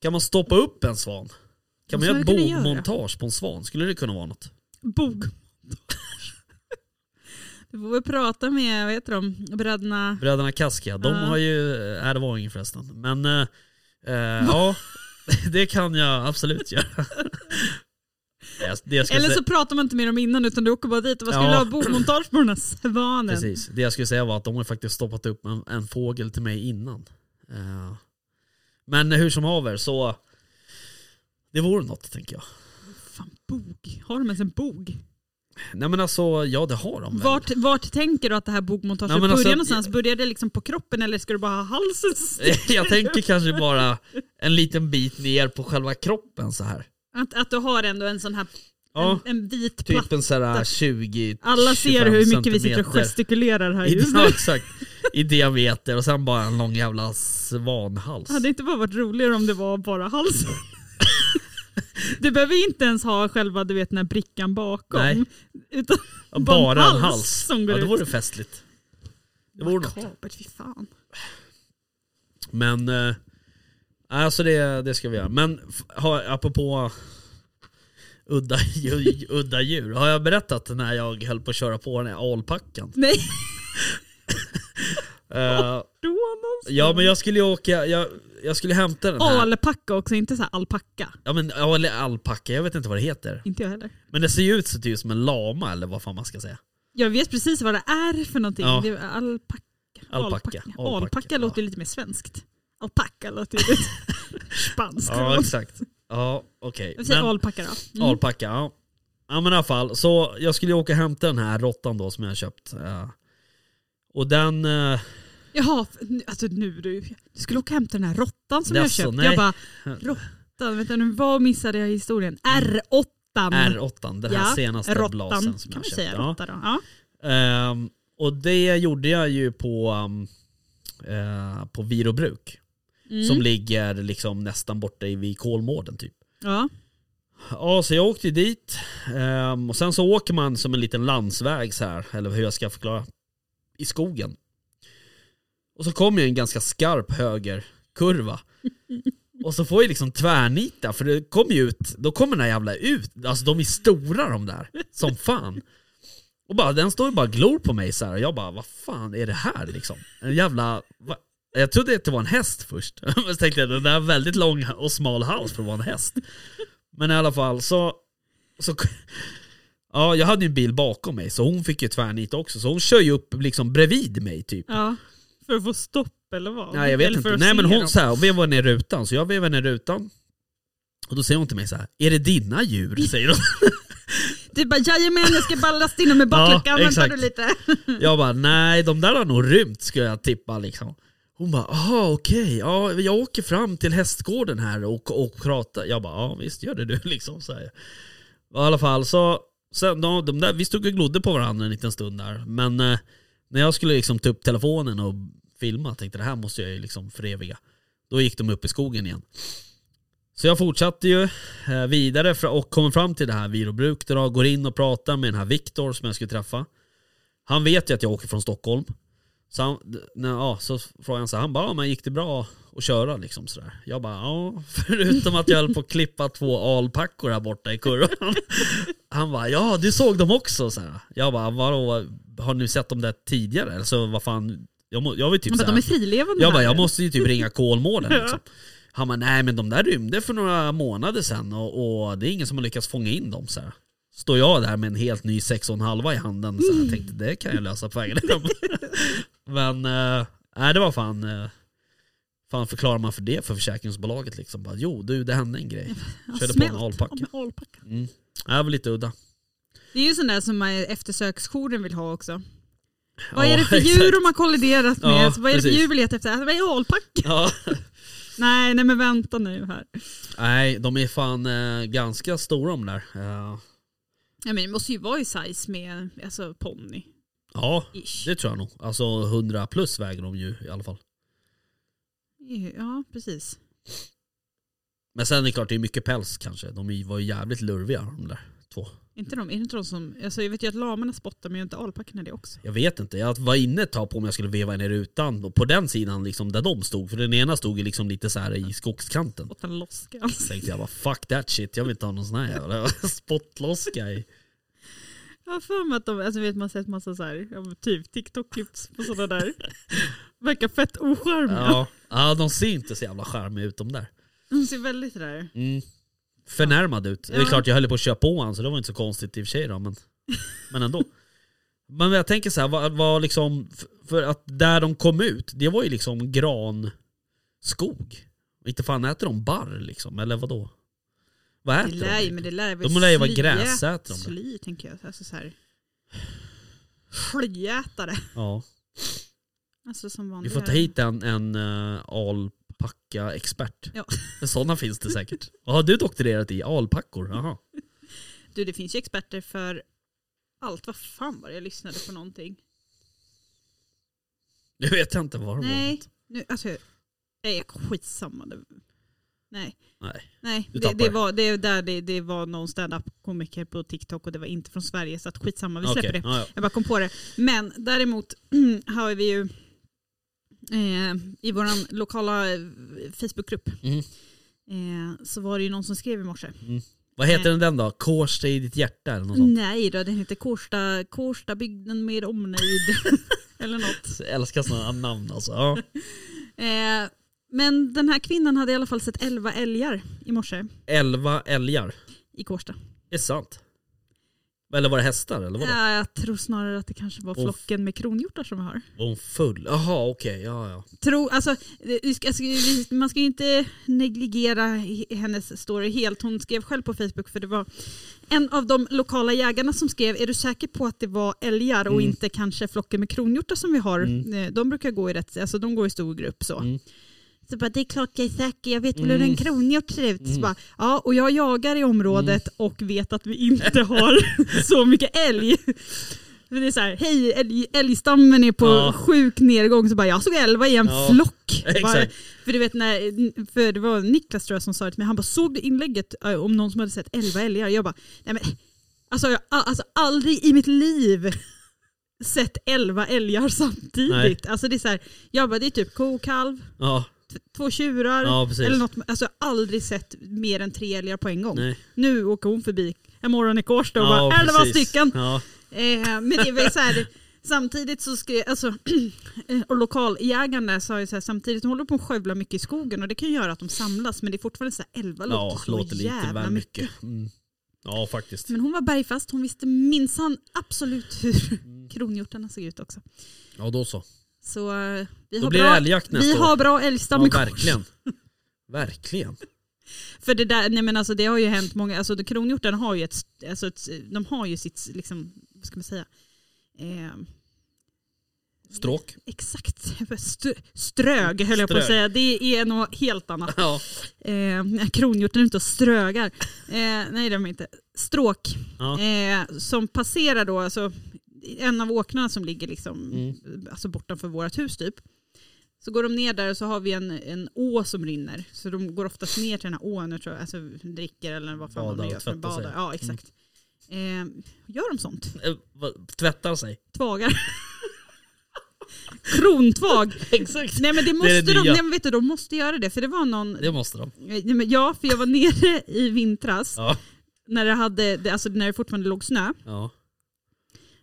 kan man stoppa upp en svan? Kan man Vad göra ett skulle du kunna bogmontage på en svan? Skulle det kunna vara något? Bog. Du får väl prata med, vad heter de, bröderna. Bröderna Kaska, de Ja. har ju, nej det var ingen förresten. Men eh, eh, ja, det kan jag absolut göra. Det- det skulle Eller sä- så pratar man inte med dem innan utan du åker bara dit och vad ska Ja. du ha bogmontage på den här svanen? Precis. Det jag skulle säga var att de har faktiskt stoppat upp en, en fågel till mig innan. Eh, men hur som haver så, det vore något tänker jag. Fan, bog. Har de ens en bog? Nej men alltså, ja det har de väl. Vart, vart tänker du att det här bogmontaget Nej, men börjar alltså- någonstans? Börjar det liksom på kroppen eller ska du bara ha halsen? Jag tänker kanske bara en liten bit ner på själva kroppen så här. Att, att du har ändå en sån här Ja, en, en vit platta. typ en så här 20 Alla ser 25 hur mycket vi sitter och centimeter gestikulerar här i, just nu. ja, exakt, I diameter och sen bara en lång jävla svanhals. Hade inte bara varit roligare om det var bara halsen? Du behöver inte ens ha själva du vet, den här brickan bakom. Nej. Utan Ja, bara en bara en hals hals. som går ja, det ut. vore festligt. Det vore något. makabert, fy fan. Men, eh, alltså det, det ska vi göra. Men f- har, apropå udda, djur- udda djur, har jag berättat när jag höll på att köra på den här alpackan? Nej, Eh, då någonstans. Ja men jag skulle ju åka, jag, jag skulle hämta den här. Alpacka också, inte så här alpacka. Ja men, ja, eller alpacka, jag vet inte vad det heter. Inte jag heller. Men det ser ju ut så typ som en lama eller vad fan man ska säga. Jag vet precis vad det är för någonting. Ja. Det är alpacka. Alpacka, Alpacka, alpacka, alpacka ja. låter lite mer svenskt. Alpacka låter ju lite spanskt. Ja exakt. Ja okej. Vi säger Men- alpacka då. Mm. Alpacka, ja. Ja men i alla fall, så jag skulle ju åka och hämta den här råttan då som jag har köpt. eh. Och den, eh, Jaha, f- nu- alltså nu du. Du skulle åka och hämta den här råttan som jag Jaså, köpt. nej. Jag bara, råttan, vänta nu, vad missade jag i historien? R8. R8, den här senaste råttan, Mm. blasen som jag kan har vi köpt. säga. ja. Råtta då. Ja. Ehm, och det gjorde jag ju på, um, eh, på Virobruk. Mm. Som ligger liksom nästan borta i- vid Kolmården typ. ja. Ja, så jag åkte ju dit. Ehm, och sen så åker man som en liten landsväg så här, eller hur jag ska förklara, i skogen. Och så kommer ju en ganska skarp högerkurva. Och så får jag liksom tvärnita, för det kommer ju ut, då kommer den här jävla ut. Alltså de är stora de där, som fan. Och bara, den står ju bara och glor på mig så här. Och jag bara, vad fan är det här liksom? En jävla... Va? Jag trodde att det var en häst först. Men så tänkte jag, den där är väldigt lång och smal hals för att vara en häst. Men i alla fall så... så ja, jag hade ju en bil bakom mig så hon fick ju tvärnit också. Så hon kör ju upp liksom bredvid mig typ. ja. För att få stopp eller vad? Nej jag vet eller för inte. att Nej men se hon dem. så här, och vevade ner rutan. Så jag vevade ner rutan. Och då säger hon till mig så här, är det dina djur? Säger hon. Du bara, jajamän jag ska ballast in dem med bakluckan, Ja, vänta exakt. du lite. Jag bara, nej de där har nog rymt skulle jag tippa liksom. Hon bara, aha okej, ja, jag åker fram till hästgården här och, och pratar. Jag bara, ja visst gör det du liksom. Så här. I alla fall så, sen, då, de där, vi stod och glodde på varandra en liten stund där. Men eh, när jag skulle liksom ta upp telefonen och filma, tänkte det här måste jag ju liksom föreviga. Då gick de upp i skogen igen. Så jag fortsatte ju eh, vidare fra- och kommer fram till det här virobruket och går in och pratar med den här Viktor som jag skulle träffa. Han vet ju att jag åker från Stockholm. Så, han, d- när, ja, så frågade han så här, han bara, ja, men gick det bra att köra liksom sådär? Jag bara, ja, förutom att jag höll på att klippa två alpackor här borta i kurvan. Han bara, ja du såg dem också såhär. Jag bara, vadå, har ni sett dem där tidigare? Eller så vad fan, jag, må, jag var ju typ Men de är såhär, frilevande jag bara, där. jag måste ju typ ringa Kolmården liksom. Han bara, nej men de där rymde för några månader sedan och, och det är ingen som har lyckats fånga in dem så här. Står jag där med en helt ny 6,5 i handen så här, tänkte det kan jag lösa på vägen hem. Men eh, nej det var fan, eh, fan förklarar man för det för försäkringsbolaget liksom? Bara, jo du det hände en grej. Ja, Körde smält. på en alpacka. Ja, men alpacka. Mm. Ja, Det var lite udda. Det är ju sån där som eh, eftersöksjouren vill ha också. Vad Ja, är det för exakt. djur de har kolliderat med? Ja, Så vad är det för precis. djur vi letar efter? Ah, Det är alpacka. Ja. Nej, nej men vänta nu här. Nej de är fan eh, ganska stora de där. Eh, Ja, men det måste ju vara i size med alltså, ponny. ja Ish. det tror jag nog. Alltså 100 plus väger de ju i alla fall. Ja, precis. Men sen är det klart det är mycket päls kanske. De är- var ju jävligt lurviga de där två. Inte de, är det inte de som, alltså, jag vet ju att lamarna spottar men gör inte alpackorna det också? Jag vet inte, jag var inne ett tag på om jag skulle veva ner rutan och på den sidan liksom där de stod. För den ena stod ju liksom lite så här i skogskanten. Spottar loska alltså. Tänkte jag bara fuck that shit, jag vill inte ha någon sån här jävla spottloska i. Jag har för mig att de, alltså vet man sett massa så här, ja, men typ TikTok-klipps på sådana där. Verkar fett ocharmiga. Ja. ja, de ser inte så jävla charmiga ut de där. De ser väldigt sådär. Mm. Förnärmad ut. Det är Ja. klart jag höll på att köra på honom så det var inte så konstigt i och för sig då, men, men ändå. Men jag tänker så här, vad, vad liksom, f- för att där de kom ut, det var ju liksom granskog. Inte fan äter de barr liksom, eller vadå? Vad Det äter lär de? ju, men det lär väl De lär ju vara sly- gräsätare, de där. Sly tänker jag, alltså så här. Slyätare. Ja. Alltså som Vi vanliga. får ta hit en, en uh, alpacka-expert. Ja. Sådana finns det säkert. Vad har du doktorerat i? Alpackor? Jaha. Du det finns ju experter för allt. Vad fan var det jag lyssnade på någonting? Nu vet jag inte vad de var. Nej, nu, alltså, jag- nej, jag skitsamma. Det- Nej, Nej. nej Du det, tappar det, det. var, det, där det, det var någon stand-up komiker på TikTok och det var inte från Sverige så att skitsamma, vi släpper Okej, det. ja, ja. Jag bara kom på det. Men däremot har vi ju eh, i vår lokala eh, Facebookgrupp Mm. eh, så var det ju någon som skrev i morse. Vad heter Mm. den den då? Kårsta i ditt hjärta eller något sånt? Nej då, den heter Kårsta, Kårsta bygden med omnejd. Eller något. Jag älskar sådana namn alltså. Ja. Eh, men den här kvinnan hade i alla fall sett 11 älgar i morse Elva älgar. i Kårsta. Är sant? Eller var det hästar eller vadå? Ja, jag tror snarare att det kanske var Och- flocken med kronhjortar som vi har. Var hon full? Jaha okej, ja ja. Tro, alltså, det- vi ska, alltså, vi- man ska ju inte negligera he- hennes story helt. Hon skrev själv på Facebook för det var en av de lokala jägarna som skrev är du säker på att det var älgar och Mm. inte kanske flocken med kronhjortar som vi har? Mm. Eh, De brukar gå i rätt, alltså de går i stor grupp så. Mm. Så bara, det är klart jag är säker, jag vet väl hur Mm. en kronhjort ser ut. Så Mm. bara, ja, och jag jagar i området och vet att vi inte har så mycket älg. Men det är så här, hej älg, älgstammen är på Ja. sjuk nedgång. Så bara, jag såg elva i en Ja, flock. Bara, Exakt. för du vet när, för det var Niklas tror jag som sa det till mig, han bara såg du inlägget eh, om någon som hade sett elva älgar? Jag bara, nej men alltså jag har alltså, aldrig i mitt liv sett elva älgar samtidigt. Nej. Alltså det är så här, jag bara det är typ ko, kalv, Ja, t- två tjurar. ja precis. Eller något, alltså jag har aldrig sett mer än tre älgar på en gång. Nej. Nu åker hon förbi en morgon i Kårsta och ja, bara elva precis. stycken. Ja. Eh, men det är väl så här, samtidigt så skrev, alltså, eh, och lokaljägaren där sa ju så här, samtidigt, de håller på att skövla mycket i skogen och det kan ju göra att de samlas men det är fortfarande så här, elva låter ja, så låter lite jävla väl mycket. Mm. mycket. Mm. Ja faktiskt. Men hon var bergfast, hon visste minsann absolut hur kronhjortarna såg ut också. Ja då så. Så eh, vi Då har blir det bra, älgjakt nästa vi år. har bra älgstam Ja, i Kårsta. verkligen. Verkligen. För det där, nej men alltså det har ju hänt många, alltså de- kronhjorten har ju ett, alltså ett, de har ju sitt, liksom, vad ska man säga, eh, Stråk. Exakt. St- strög höll jag på att Strög. säga. Det är något helt annat. Ja. Eh, kronhjorten är ute och strögar. Eh, nej det är de inte. Stråk. Ja. Eh, som passerar då, alltså, en av åkrarna som ligger liksom, Mm. alltså, bortanför vårt hus typ. Så går de ner där och så har vi en, en å som rinner. Så de går oftast ner till den här ån och tror jag, alltså, dricker eller vad fan Badar de och gör. för tvättar sig. Mm. Badar. Ja exakt. Eh, gör de sånt? Eh, vad- Tvättar sig. Tvagar. Krontvag. Exakt. Nej men det Det är det måste de, nya. nej, men vet du, de måste göra det för det var någon, Det måste de. nej, men ja för jag var nere i vintras Ja. när, det hade, det- alltså, när det fortfarande låg snö ja.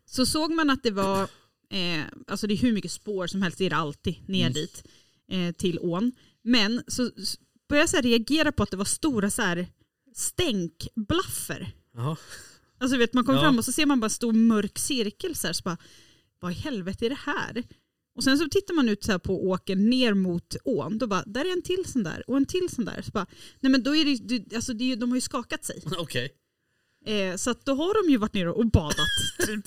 så såg man att det var, eh, alltså det är hur mycket spår som helst, det är det alltid ner Mm. dit eh, till ån. Men så s- började jag så här reagera på att det var stora så här stänkblaffer. Jaha. Alltså du vet, man kommer Ja. fram och så ser man bara en stor mörk cirkel så här, så bara, vad i helvete är det här? Och sen så tittar man ut så här på åken ner mot ån, då bara, där är en till sån där och en till sån där. Så bara, nej men då är det, ju- det alltså det är ju, de har ju skakat sig. Okej. Eh, så att då har de ju varit nere och badat typ.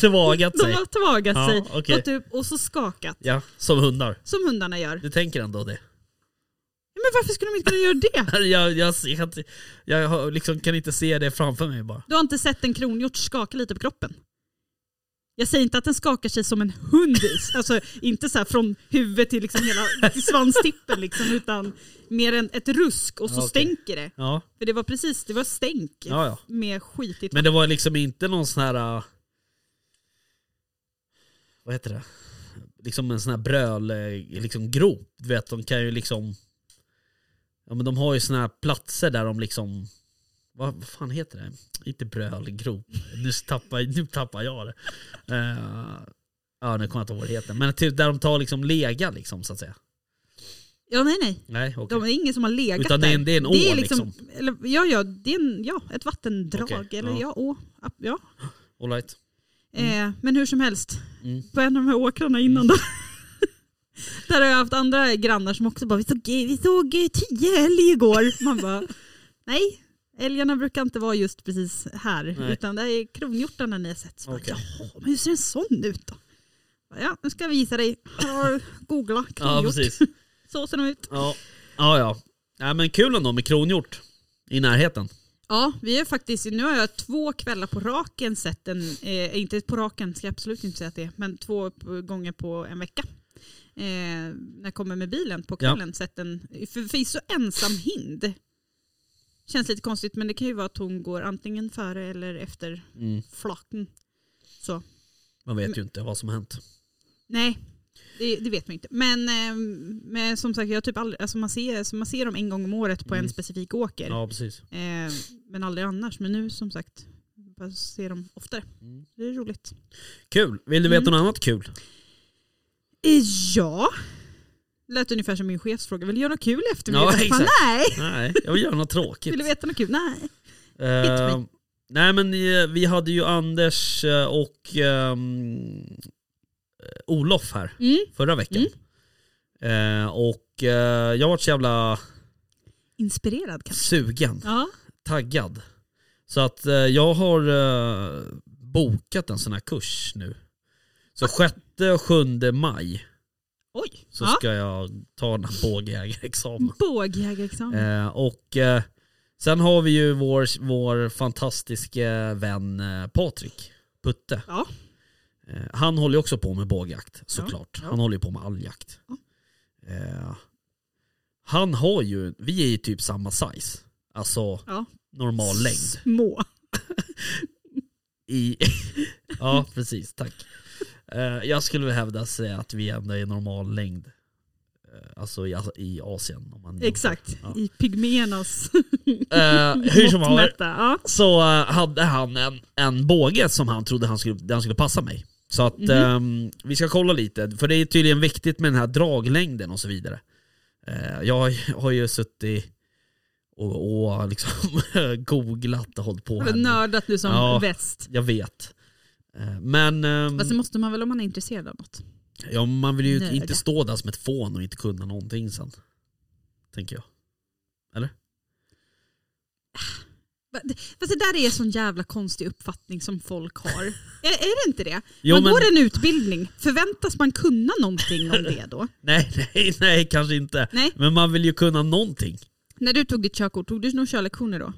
Tvagat De sig. har tvagat Ja, sig okej. och, typ, och så skakat. Ja, som hundar. Som hundarna gör. Du tänker ändå det? Ja, Men varför skulle de inte kunna göra det? Jag, jag, ser att- jag har- liksom kan inte se det framför mig bara. Du har inte sett en kronhjort skaka lite på kroppen? Jag säger inte att den skakar sig som en hund, alltså inte så här från huvudet till, liksom hela, till svanstippen liksom, utan mer än ett rusk och så Ja, okej. stänker det. Ja, För det var precis, det var stänk ja, ja. med skitigt Men det var liksom inte någon sån här... äh, Vad heter det? Liksom en sån här bröl, äh, liksom grop. Du vet, de kan ju liksom... Ja men de har ju såna här platser där de liksom... Vad, vad fan heter det? Inte brölgrop. Nu tappar, nu tappar jag det. Eh, ja nu kommer jag inte ihåg vad det heter. Men typ där de tar liksom lega liksom så att säga. Ja nej nej, Nej okej. de det är ingen som har legat Utan det är en- där. liksom- det är en å, liksom. Eller, ja, ja, det är en, ja, ett vattendrag Okej, eller ja. ja, å. Ja. All right. Eh, men hur som helst, Mm. på en av de här åkrarna innan då. Där har jag haft andra grannar som också bara vi såg, vi såg eh, tio älg igår. Man bara nej, älgarna brukar inte vara just precis här. Nej. Utan det är kronhjortarna ni har sett. Så bara, Okej. Jaha, men hur ser en sån ut då? Bara, Ja, nu ska jag visa dig. Här har du- Googla Ja kronhjort. precis. så ser de ut. Ja. ja ja. Ja men kul ändå med kronhjort. I närheten. Ja, vi är faktiskt, nu har jag två kvällar på raken sett en, eh, inte på raken ska jag absolut inte säga att det är, men två p- gånger på en vecka. Eh, när jag kommer med bilen på kvällen sett en, för förvisso ensam hind. Känns lite konstigt men det kan ju vara att hon går antingen före eller efter Mm. flaken. Så, Man vet ju inte vad som har hänt. Mm. nej. Det, det vet man inte. Men, eh, men som sagt, jag har typ aldrig, alltså man, ser, alltså man ser dem en gång om året på Mm. en specifik åker. Ja, precis. Eh, men aldrig annars. Men nu som sagt, bara ser dem oftare. Mm. Det är roligt. Kul. Vill du veta Mm. något annat kul? Eh, ja. Lät ungefär som min chefsfråga. Vill du göra något kul i eftermiddag? Ja, Fan, exakt. nej. Nej, jag vill göra något tråkigt. Vill du veta något kul? Nej. Eh, nej, men eh, vi hade ju Anders eh, och ehm, eh, Olof här Mm. förra veckan. Eh, och eh, jag var så jävla Inspirerad kanske. sugen, Ja. taggad. Så att eh, jag har eh, bokat en sån här kurs nu. Ah. Så 6 och 7 maj Oj. så ja. ska jag ta den här bågjägarexamen. Bågjägarexamen. Eh, och eh, sen har vi ju vår, vår fantastiska vän eh, Patrik, Putte. Ja. Eh, han håller ju också på med bågjakt såklart. Ja, ja. Han håller ju på med all jakt. Ja. Eh, han har ju, vi är ju typ samma size. Alltså Ja. normal längd. Små. I, ja precis, tack. Eh, jag skulle väl hävda säga att vi ändå är normal längd. Eh, alltså i, i Asien. Om man jämför. Exakt. Ja. I pigmenas Eh, hur som helst. måttmätta. Ja. så eh, hade han en, en båge som han trodde han skulle, den skulle passa mig. Så Mhm. att ehm, vi ska kolla lite, för det är tydligen viktigt med den här draglängden och så vidare. Eh, jag har ju- har ju suttit och, och liksom googlat och hållit på. Har du här nu. nördat nu som Ja. Mm. väst? Jag vet. Eh, Men ehm, Fast det måste man väl om man är intresserad av något. ja, man vill ju Nörda. inte stå där som ett fån och inte kunna någonting sen. Tänker jag. Fast det där är en sån jävla konstig uppfattning som folk har. är, är det inte det? Jo, man men- går en utbildning, förväntas man kunna någonting om det då? Nej, nej, nej, kanske inte. Nej. Men man vill ju kunna någonting. När du tog ditt körkort, tog du några körlektioner då?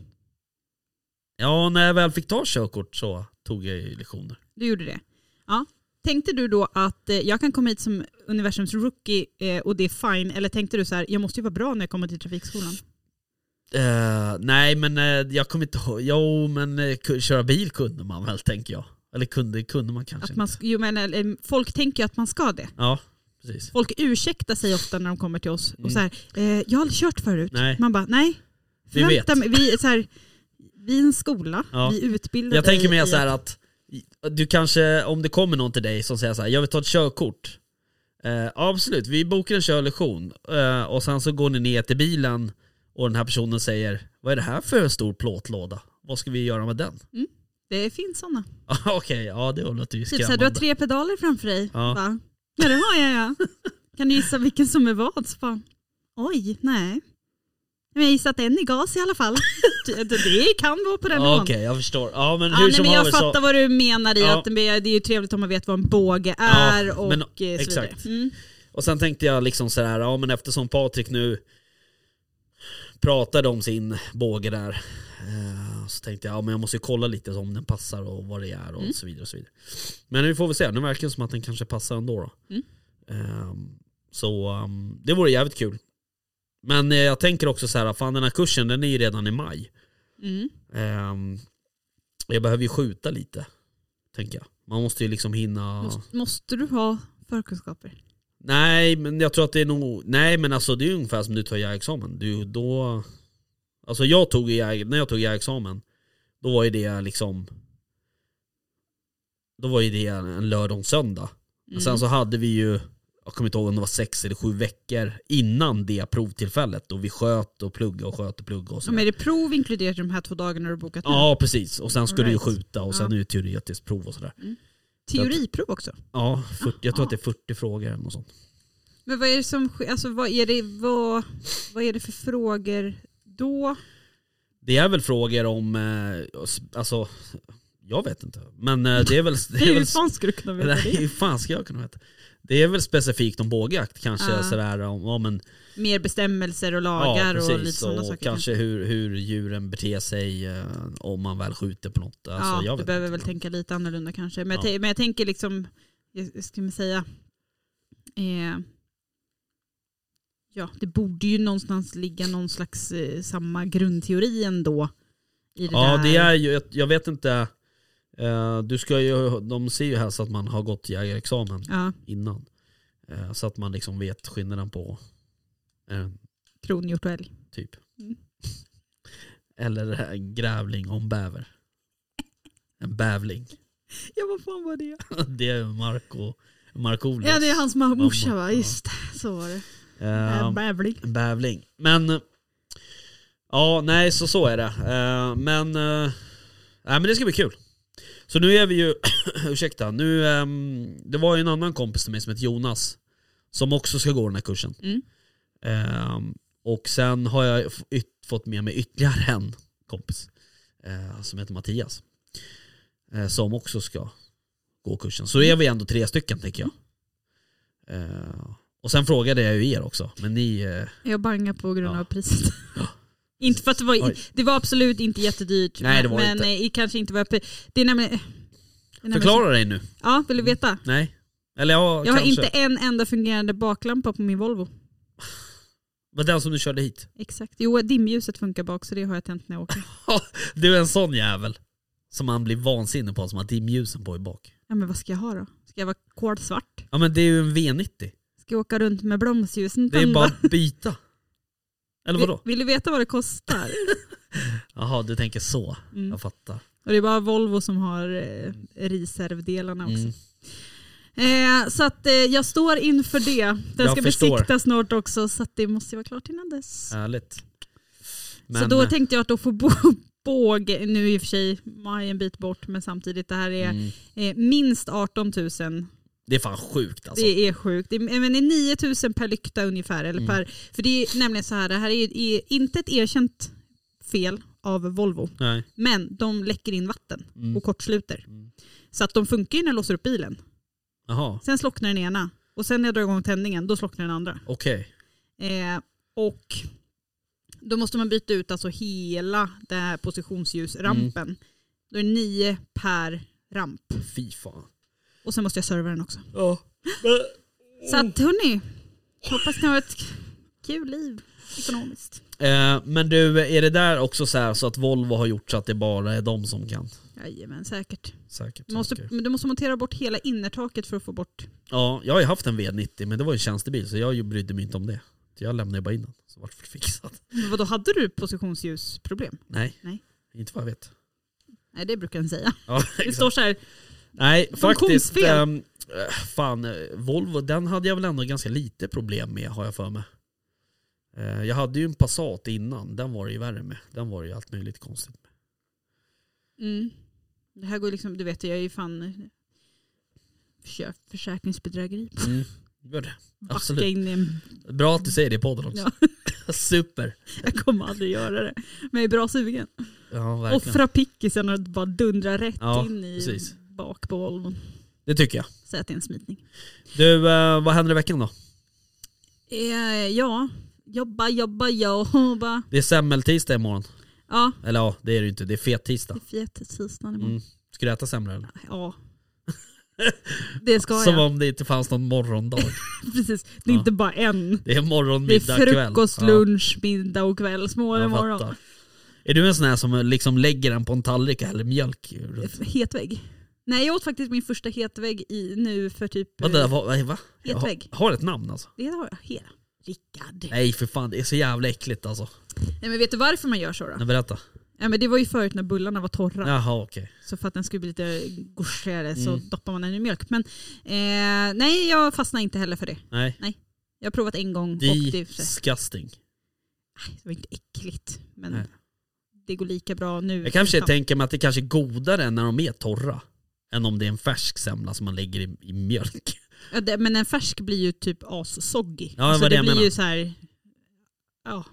Ja, när jag väl fick ta körkort så tog jag ju lektioner. Du gjorde det? Ja. Tänkte du då att eh, jag kan komma hit som universums rookie eh, och det är fine, eller tänkte du så här, jag måste ju vara bra när jag kommer till trafikskolan? Eh, nej men eh, jag kommer inte ihåg, jo men eh, ku- köra bil kunde man väl tänker jag. Eller kunde, kunde man kanske Att man, inte. sk- jo, men, eller, eh, folk tänker ju att man ska det. Ja, precis. Folk ursäktar sig ofta när de kommer till oss. Mm. Och så här, eh, jag har aldrig kört förut. Nej. Man bara, nej. Vi vet. Förvänta mig- Vi, är så här, vi är en skola, Ja. vi utbildar Jag dig tänker mer i så här att du kanske, om det kommer någon till dig som säger så här, jag vill ta ett körkort. Eh, absolut, vi bokar en körlektion eh, och sen så går ni ner till bilen och den här personen säger, vad är det här för stor plåtlåda? Vad ska vi göra med den? Det finns sådana. Ah, Okej, ja det låter ju Typ så här, skrämmande. du har tre pedaler framför dig. Ja. Va? Ja det har jag ja. Kan du gissa vilken som är vad? Så bara, Oj, nej. Men jag gissar att en är gas i alla fall. Det- det kan vara på den Ja, nivån. Okej, jag förstår. Ja men Ja, hur nej, som men jag haver fattar så... vad du menar i Ja. att det är det är ju trevligt om man vet vad en båge är och men- eh, så vidare. exakt. Mm. Och sen tänkte jag liksom så här, ja men eftersom Patrik nu pratade om sin båge där. eh, Så tänkte jag, ja men jag måste ju kolla lite om den passar och vad det är och så vidare. och så vidare Men nu får vi se, nu verkar det som att den kanske passar ändå då. Mm. Ehm, Så ehm, det vore jävligt kul. Men eh, jag tänker också så här, fan den här kursen den är ju redan i maj. Mm. Ehm, Jag behöver ju skjuta lite, tänker jag. Man måste ju liksom hinna... Måste, måste du ha förkunskaper? Nej, men jag tror att det är nog... Nej, men alltså det är ungefär som du tar jägarexamen. Du då... Alltså jag tog jäg... när jag tog jägarexamen, då var ju det liksom... Då var ju det en lördag och en söndag. Mm. Men Sen så hade vi ju, jag kommer inte ihåg om det var sex eller sju veckor innan det provtillfället då vi sköt och pluggade och sköt och pluggade och Ja, så. men är det prov inkluderat i de här två dagarna du bokat nu? Ja, precis. Och sen skulle du ju Alright. skjuta och sen är det ju teoretiskt prov och sådär. Teoriprov också? Ja, 40, jag tror att det är 40 frågor eller något sånt. Men vad är det som sker? Alltså, vad, är det, vad, vad är det för frågor då? Det är väl frågor om, eh, s- alltså, jag vet inte. Men eh, det är väl... Det är väl Hur fan skulle du kunna veta nej, det? hur fan ska jag kunna veta? Det är väl specifikt om bågjakt kanske Ja. sådär om, ja men, Mer bestämmelser och ja, lagar och lite precis. sådana Och, saker. kanske. kanske hur, hur djuren beter sig eh, om man väl skjuter på något. Alltså, ja, jag du vet behöver inte. väl tänka lite annorlunda kanske. Men, Ja. jag, tän- men jag tänker liksom, jag jag ska man säga, eh, ja det borde ju någonstans ligga någon slags eh, samma grundteori ändå. I det Ja där. det är ju, ett- jag vet inte, eh, du ska ju, de ser ju här så att man har gått jägarexamen Ja, innan. Eh, så att man liksom vet skillnaden på eh, kronhjort och älg. typ. Mm. Eller det här, grävling om bäver. En bävling. Ja vad fan var det? Det är Marco, Markoolios. Ja det är hans ma- morsa Mamma, va? ja. Just det, så var det. Eh, Äh, Bävling. en bävling. Men, eh, ja nej så så är det. Eh, men, eh, nej men det ska bli kul. Så nu är vi ju, ursäkta, nu, ehm, det var ju en annan kompis till mig som heter Jonas. Som också ska gå den här kursen. Mm. Ehm, och sen har jag f- yt- fått med mig ytterligare en kompis eh, som heter Mattias. eh, som också ska gå kursen. Så är vi ändå tre stycken tänker jag. Mm. Eh, och sen frågade jag ju er också, men ni... eh, Jag bangar på grund Ja. av priset. inte för att det var, Oj. det var absolut inte jättedyrt. Nej, det var men inte. eh, kanske inte var uppe. Det är nämligen... det är nämligen- förklara dig nu. Ja, vill du veta? Nej? Eller ja, Jag har kanske. inte en enda fungerande baklampa på min Volvo. Men den som du körde hit. Exakt. Jo, dimljuset funkar bak så det har jag tänt när jag åker. Du är en sån jävel. Som man blir vansinnig på, som har dimljusen på i bak. Ja, men vad ska jag ha då? Ska jag vara kolsvart? Ja men det är ju en V90. Ska jag åka runt med bromsljusen Det är ju tända? bara att byta. Eller vadå? Vill, vill du veta vad det kostar? Jaha, du tänker så. Mm. Jag fattar. Och det är bara Volvo som har eh, reservdelarna också. Mm. Eh, så att eh, jag står inför det. Den Jag ska förstår. besiktas snart också så att det måste ju vara klart innan dess. Härligt. eh, så då tänkte jag att då får bo- båge, nu i och för sig maj en bit bort men samtidigt det här är Mm. eh, minst 18 000. Det är fan sjukt alltså. Det är sjukt. Det är, men det är 9 000 per lykta ungefär. Eller Mm. per, för det är nämligen så här, det här är, ju- är inte ett erkänt fel av Volvo. Nej. Men de läcker in vatten Mm. och kortsluter. Mm. Så att de funkar ju när jag låser upp bilen. Jaha, Sen slocknar den ena och sen när jag drar igång tändningen då slocknar den andra. okej. Eh, och då måste man byta ut alltså hela den här positionsljusrampen. Mm. Då är det nio per ramp. Fy fan. Och sen måste jag serva den också. Ja. Så att hörni, hoppas ni har ett kul liv ekonomiskt. Eh, men du, är det där också så här så att Volvo har gjort så att det bara är de som kan? Jajamän, säkert. Säkert. Du måste, säkert. men du måste montera bort hela innertaket för att få bort. Ja, jag har ju haft en V90 men det var ju en tjänstebil så jag ju brydde mig inte om det. Så jag lämnade ju bara in den. Så vart det fixat. Vad då hade du positionsljusproblem? Nej. Nej. Inte vad jag vet. Nej, det brukar den säga. Ja, Det exakt. står så här, Nej, faktiskt. Funktionsfel. ehm, eh, fan, eh, Volvo, den hade jag väl ändå ganska lite problem med har jag för mig. Eh, jag hade ju en Passat innan, den var det ju värre med. Den var det ju allt möjligt konstigt med. mm, det här går ju liksom, du vet jag är ju fan försök, försäkringsbedrägeri. Mm. Gör det. Backa Absolut. in i en, Bra att du säger det i podden också. Super. jag kommer aldrig göra det. Men jag är bra sugen. Ja, verkligen. Offra pickisen och bara dundra rätt Ja, in i precis. bak på Volvon. Det tycker jag. Säg att det är en smitning. Du, eh, vad händer i veckan då? Eh, ja, jobba, jobba, jobba. Det är semmeltisdag imorgon. Ja, Eller ja, det är det ju inte. Det är fettisdag. det är fet tisdagen imorgon. Mm. Ska du äta semla eller? Ja. Det ska Som jag. om det inte fanns någon morgondag. Precis. Det är Ja. inte bara en. Det är morgon, Det är middag, kväll. frukost, Ja. lunch, middag och kväll. Små Jag morgon. fattar. Är du en sån här som liksom lägger den på en tallrik eller mjölk? runt? Hetvägg. Nej jag åt faktiskt min första hetvägg i, nu för typ... Vänta, va? va, va? Jag Hetvägg. Har, har ett namn alltså? Det har jag. He- Rickard. Nej. Nej för fan, det är så jävla äckligt alltså. men vet du varför man gör så då? Nej, berätta. Ja, men det var ju förut när bullarna var torra. Jaha okej. Så för att den skulle bli lite gorsigare så Mm. doppar man den i mjölk. Men eh, nej jag fastnar inte heller för det. Nej. Jag har provat en gång och det, Disgusting. det var inte äckligt. Men Nej. det går lika bra nu. Liksom. Jag kanske utan- tänker mig att det kanske är godare när de är torra. Än om det är en färsk semla som man lägger i, i mjölk. Ja, det, men en färsk blir ju typ assoggig. Ja, det var det det jag blir menade. ju så här, ja,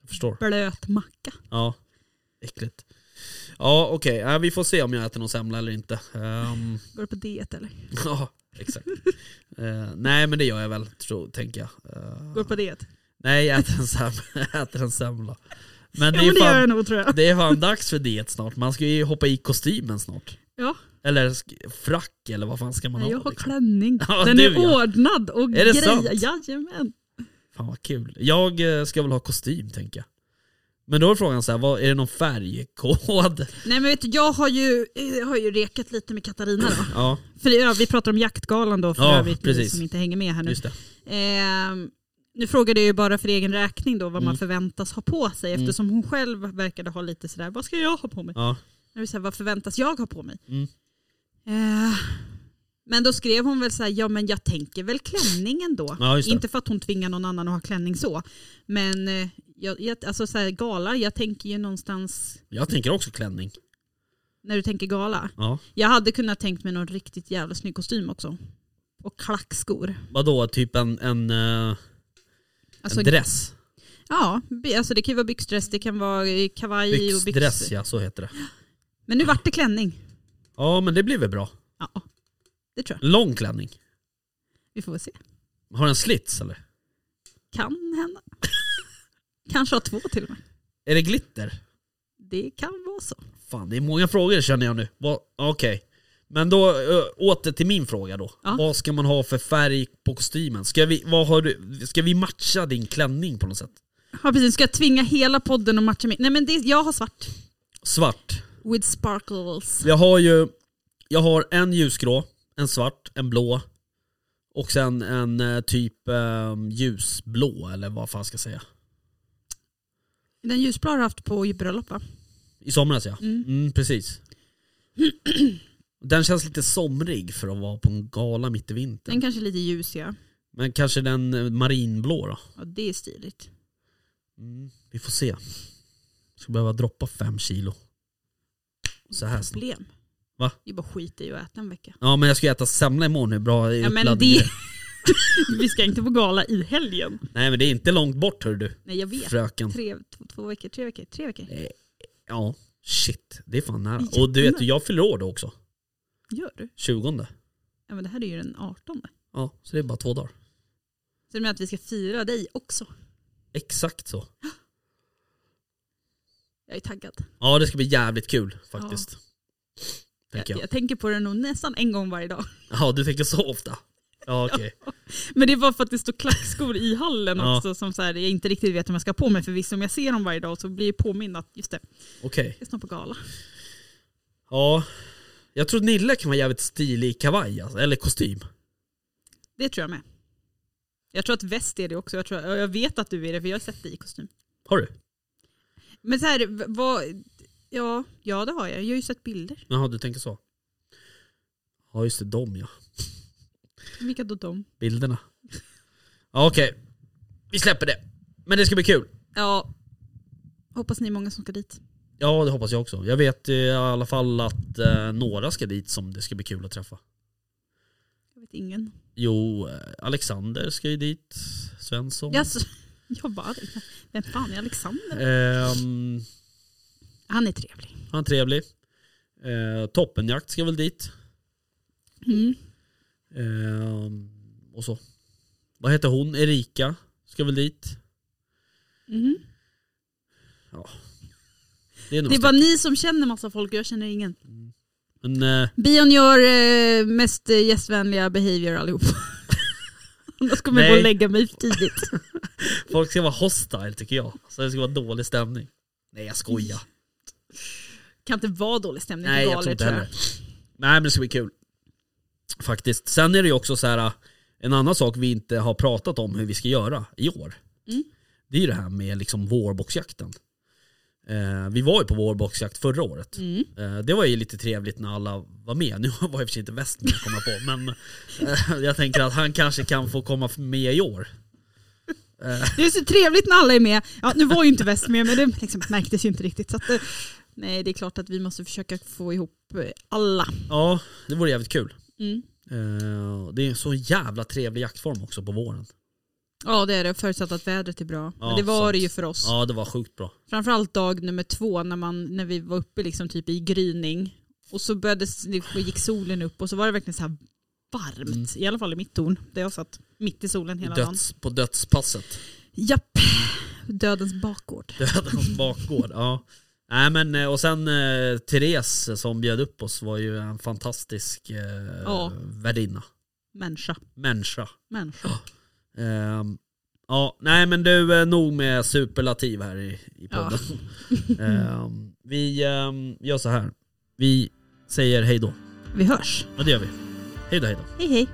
Jag förstår. blöt macka. Ja. Äckligt. Ja okej, Ja, vi får se om jag äter någon semla eller inte. Ehm, Går du på diet eller? ja, exakt. Eh, nej men det gör jag väl, tror, tänker jag. Eh, Går du på diet? Nej, jag äter en semla. Jag äter en semla. Men det Ja, är, men ju det gör jag fan, nog tror jag. det är fan dags för diet snart. Man ska ju hoppa i kostymen snart. Ja, Eller sk- frack eller vad fan ska man nej, jag ha? har Liksom? klänning. Ja, Den du, är ja. ordnad och Är det sant? Jajamän. Fan vad kul. Jag eh, ska väl ha kostym tänker jag. Men då är frågan så här, vad, är det någon färgkod? Nej men vet du, jag har ju, jag har ju rekat lite med Katarina då. Ja, För ja, vi pratar om jaktgalan då för Ja, övrigt, ni precis. som inte hänger med här nu. just det. Ehm, nu frågade jag ju bara för egen räkning då vad Mm. man förväntas ha på sig eftersom hon själv verkade ha lite sådär, vad ska jag ha på mig? Ja. Det vill säga, vad förväntas jag ha på mig? Mm. Eh, men då skrev hon väl så här, ja men jag tänker väl klänningen då. Ja, just det. Inte för att hon tvingar någon annan att ha klänning så. Men eh, jag, jag, alltså så här, gala, jag tänker ju någonstans Jag tänker också klänning. när du tänker gala. Ja. Jag hade kunnat tänkt mig någon riktigt jävla snygg kostym också. Och klackskor. Vadå, typ en, en, eh, Alltså, en dress? Ja, by- alltså det kan ju vara byxdress, det kan vara eh, kavaj och Byxdress byxor. ja, så heter det. Men nu vart det klänning. Ja men det blir väl bra. Ja, det tror jag. Lång klänning. Vi får väl se. Har den slits eller? Kan hända. Kanske ha två till och med. Är det glitter? Det kan vara så. Fan, det är många frågor känner jag nu. Vad- Okej. Men då ö, åter till min fråga då. Ja. Vad ska man ha för färg på kostymen? Ska vi, vad har du, ska vi matcha din klänning på något sätt? Ja precis, ska jag tvinga hela podden att matcha mig? Nej men det, jag har svart. Svart. With sparkles. Jag har ju jag har en ljusgrå, en svart, en blå och sen en eh, typ eh, ljusblå eller vad fan ska jag säga. Den ljusblå har du haft på bröllop va? I somras ja. Mm. precis. Den känns lite somrig för att vara på en gala mitt i vintern. Den kanske är lite ljus ja. Men kanske den eh, marinblå då? ja det är stiligt. Vi får se. Ska behöva droppa fem kilo. Så här snabbt. Problem. Va? Det är bara skit i att äta en vecka. Ja men jag ska ju äta semla imorgon, hur bra är Ja men uppladdningen? det... Vi ska inte på gala i helgen. Nej men det är inte långt bort hör du. Nej jag vet. Fröken. Tre, två, två veckor, tre veckor, tre veckor. Ja, shit. Det är fan nära. Jättenära. Och du vet, jag fyller år då också. Gör du? 20. Ja men det här är ju den 18. Ja, så det är bara två dagar. Så du menar att vi ska fira dig också? Exakt så. Jag är taggad. Ja det ska bli jävligt kul faktiskt. Jag, Tänker jag. jag tänker på det nog nästan en gång varje dag. Ja du tänker så ofta. Ja okej. Men det var för att det stod klackskor i hallen Ja. också som så här, jag inte riktigt vet om jag ska ha på mig. För visst om jag ser dem varje dag så blir jag påmind att just det, Okej. jag är snart på gala. Ja. Jag tror Nille kan vara jävligt stilig i kavaj alltså, eller kostym. Det tror jag med. Jag tror att väst är det också. Jag, tror, jag vet att du är det för jag har sett dig i kostym. Har du? Men så här, v- vad, ja, ja det har jag. Jag har ju sett bilder. Jaha du tänker så. Ja just det, de ja. Vilka då de? Bilderna. Ja okej. Vi släpper det. Men det ska bli kul. Ja. Hoppas ni är många som ska dit. Ja det hoppas jag också. Jag vet eh, i alla fall att eh, några ska dit som det ska bli kul att träffa. Jag vet ingen. Jo, eh, Alexander ska ju dit. Svensson. Jaså? Jag bara, vem fan är Alexander? Ehm, Han är trevlig. han är trevlig. Eh, toppenjakt ska väl dit. Mm. Ehm, och så. Vad heter hon? Erika ska väl dit. Mhm. Det är nog Det är bara ni som känner massa folk och jag känner ingen. Men eh, Bion gör eh, mest eh, gästvänliga behavior allihop. Annars kommer jag gå Nej. och lägga mig för tidigt. folk ska vara hostile tycker jag. Så det ska vara dålig stämning. Nej jag skojar. Kan inte vara dålig stämning Nej på jag tror galor inte tror jag. heller. Nej men det ska bli kul. Faktiskt. Sen är det ju också så här eh, en annan sak vi inte har pratat om hur vi ska göra i år. Mm. Det är ju det här med liksom vårboxjakten. Eh, vi var ju på vårboxjakt förra året. Mm. Eh, Det var ju lite trevligt när alla var med. Nu var i och för sig inte väst med komma på, men eh, jag tänker att han kanske kan få komma med i år. Det är så trevligt när alla är med. Ja, nu var ju inte väst med men det liksom märktes ju inte riktigt. Så att, eh, nej det är klart att vi måste försöka få ihop eh, alla. Ja, det vore jävligt kul. Mm. Eh, Det är en så jävla trevlig jaktform också på våren. Ja det är det, förutsatt att vädret är bra. Ja, men det var sant. det ju för oss. Ja, det var sjukt bra. Framförallt dag nummer två när, man, när vi var uppe liksom typ i gryning. Och så började, det gick solen upp och så var det verkligen så här varmt. I alla fall i mitt torn där jag satt. Mitt i solen hela dagen. Döds, på dödspasset. Japp. Dödens bakgård. Dödens bakgård. Ja. Nej, men, eh, och sen eh, Therese som bjöd upp oss var ju en fantastisk eh, Ja. värdinna. Människa. Människa. Människa. Ehm, ja, nej men du, eh, nog med superlativ här i, i Ja. podden. Ehm, vi ehm, gör så här. Vi säger hej då. Vi hörs. Ja, det gör vi. Hej då, hej då. Hej hej.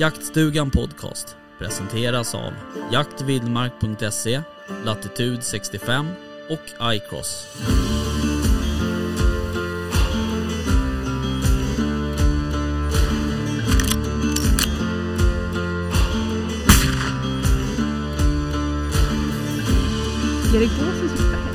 Jaktstugan Podcast presenteras av jaktvildmark.se, Latitude 65 och iCross. Erik Gåsen sitter här.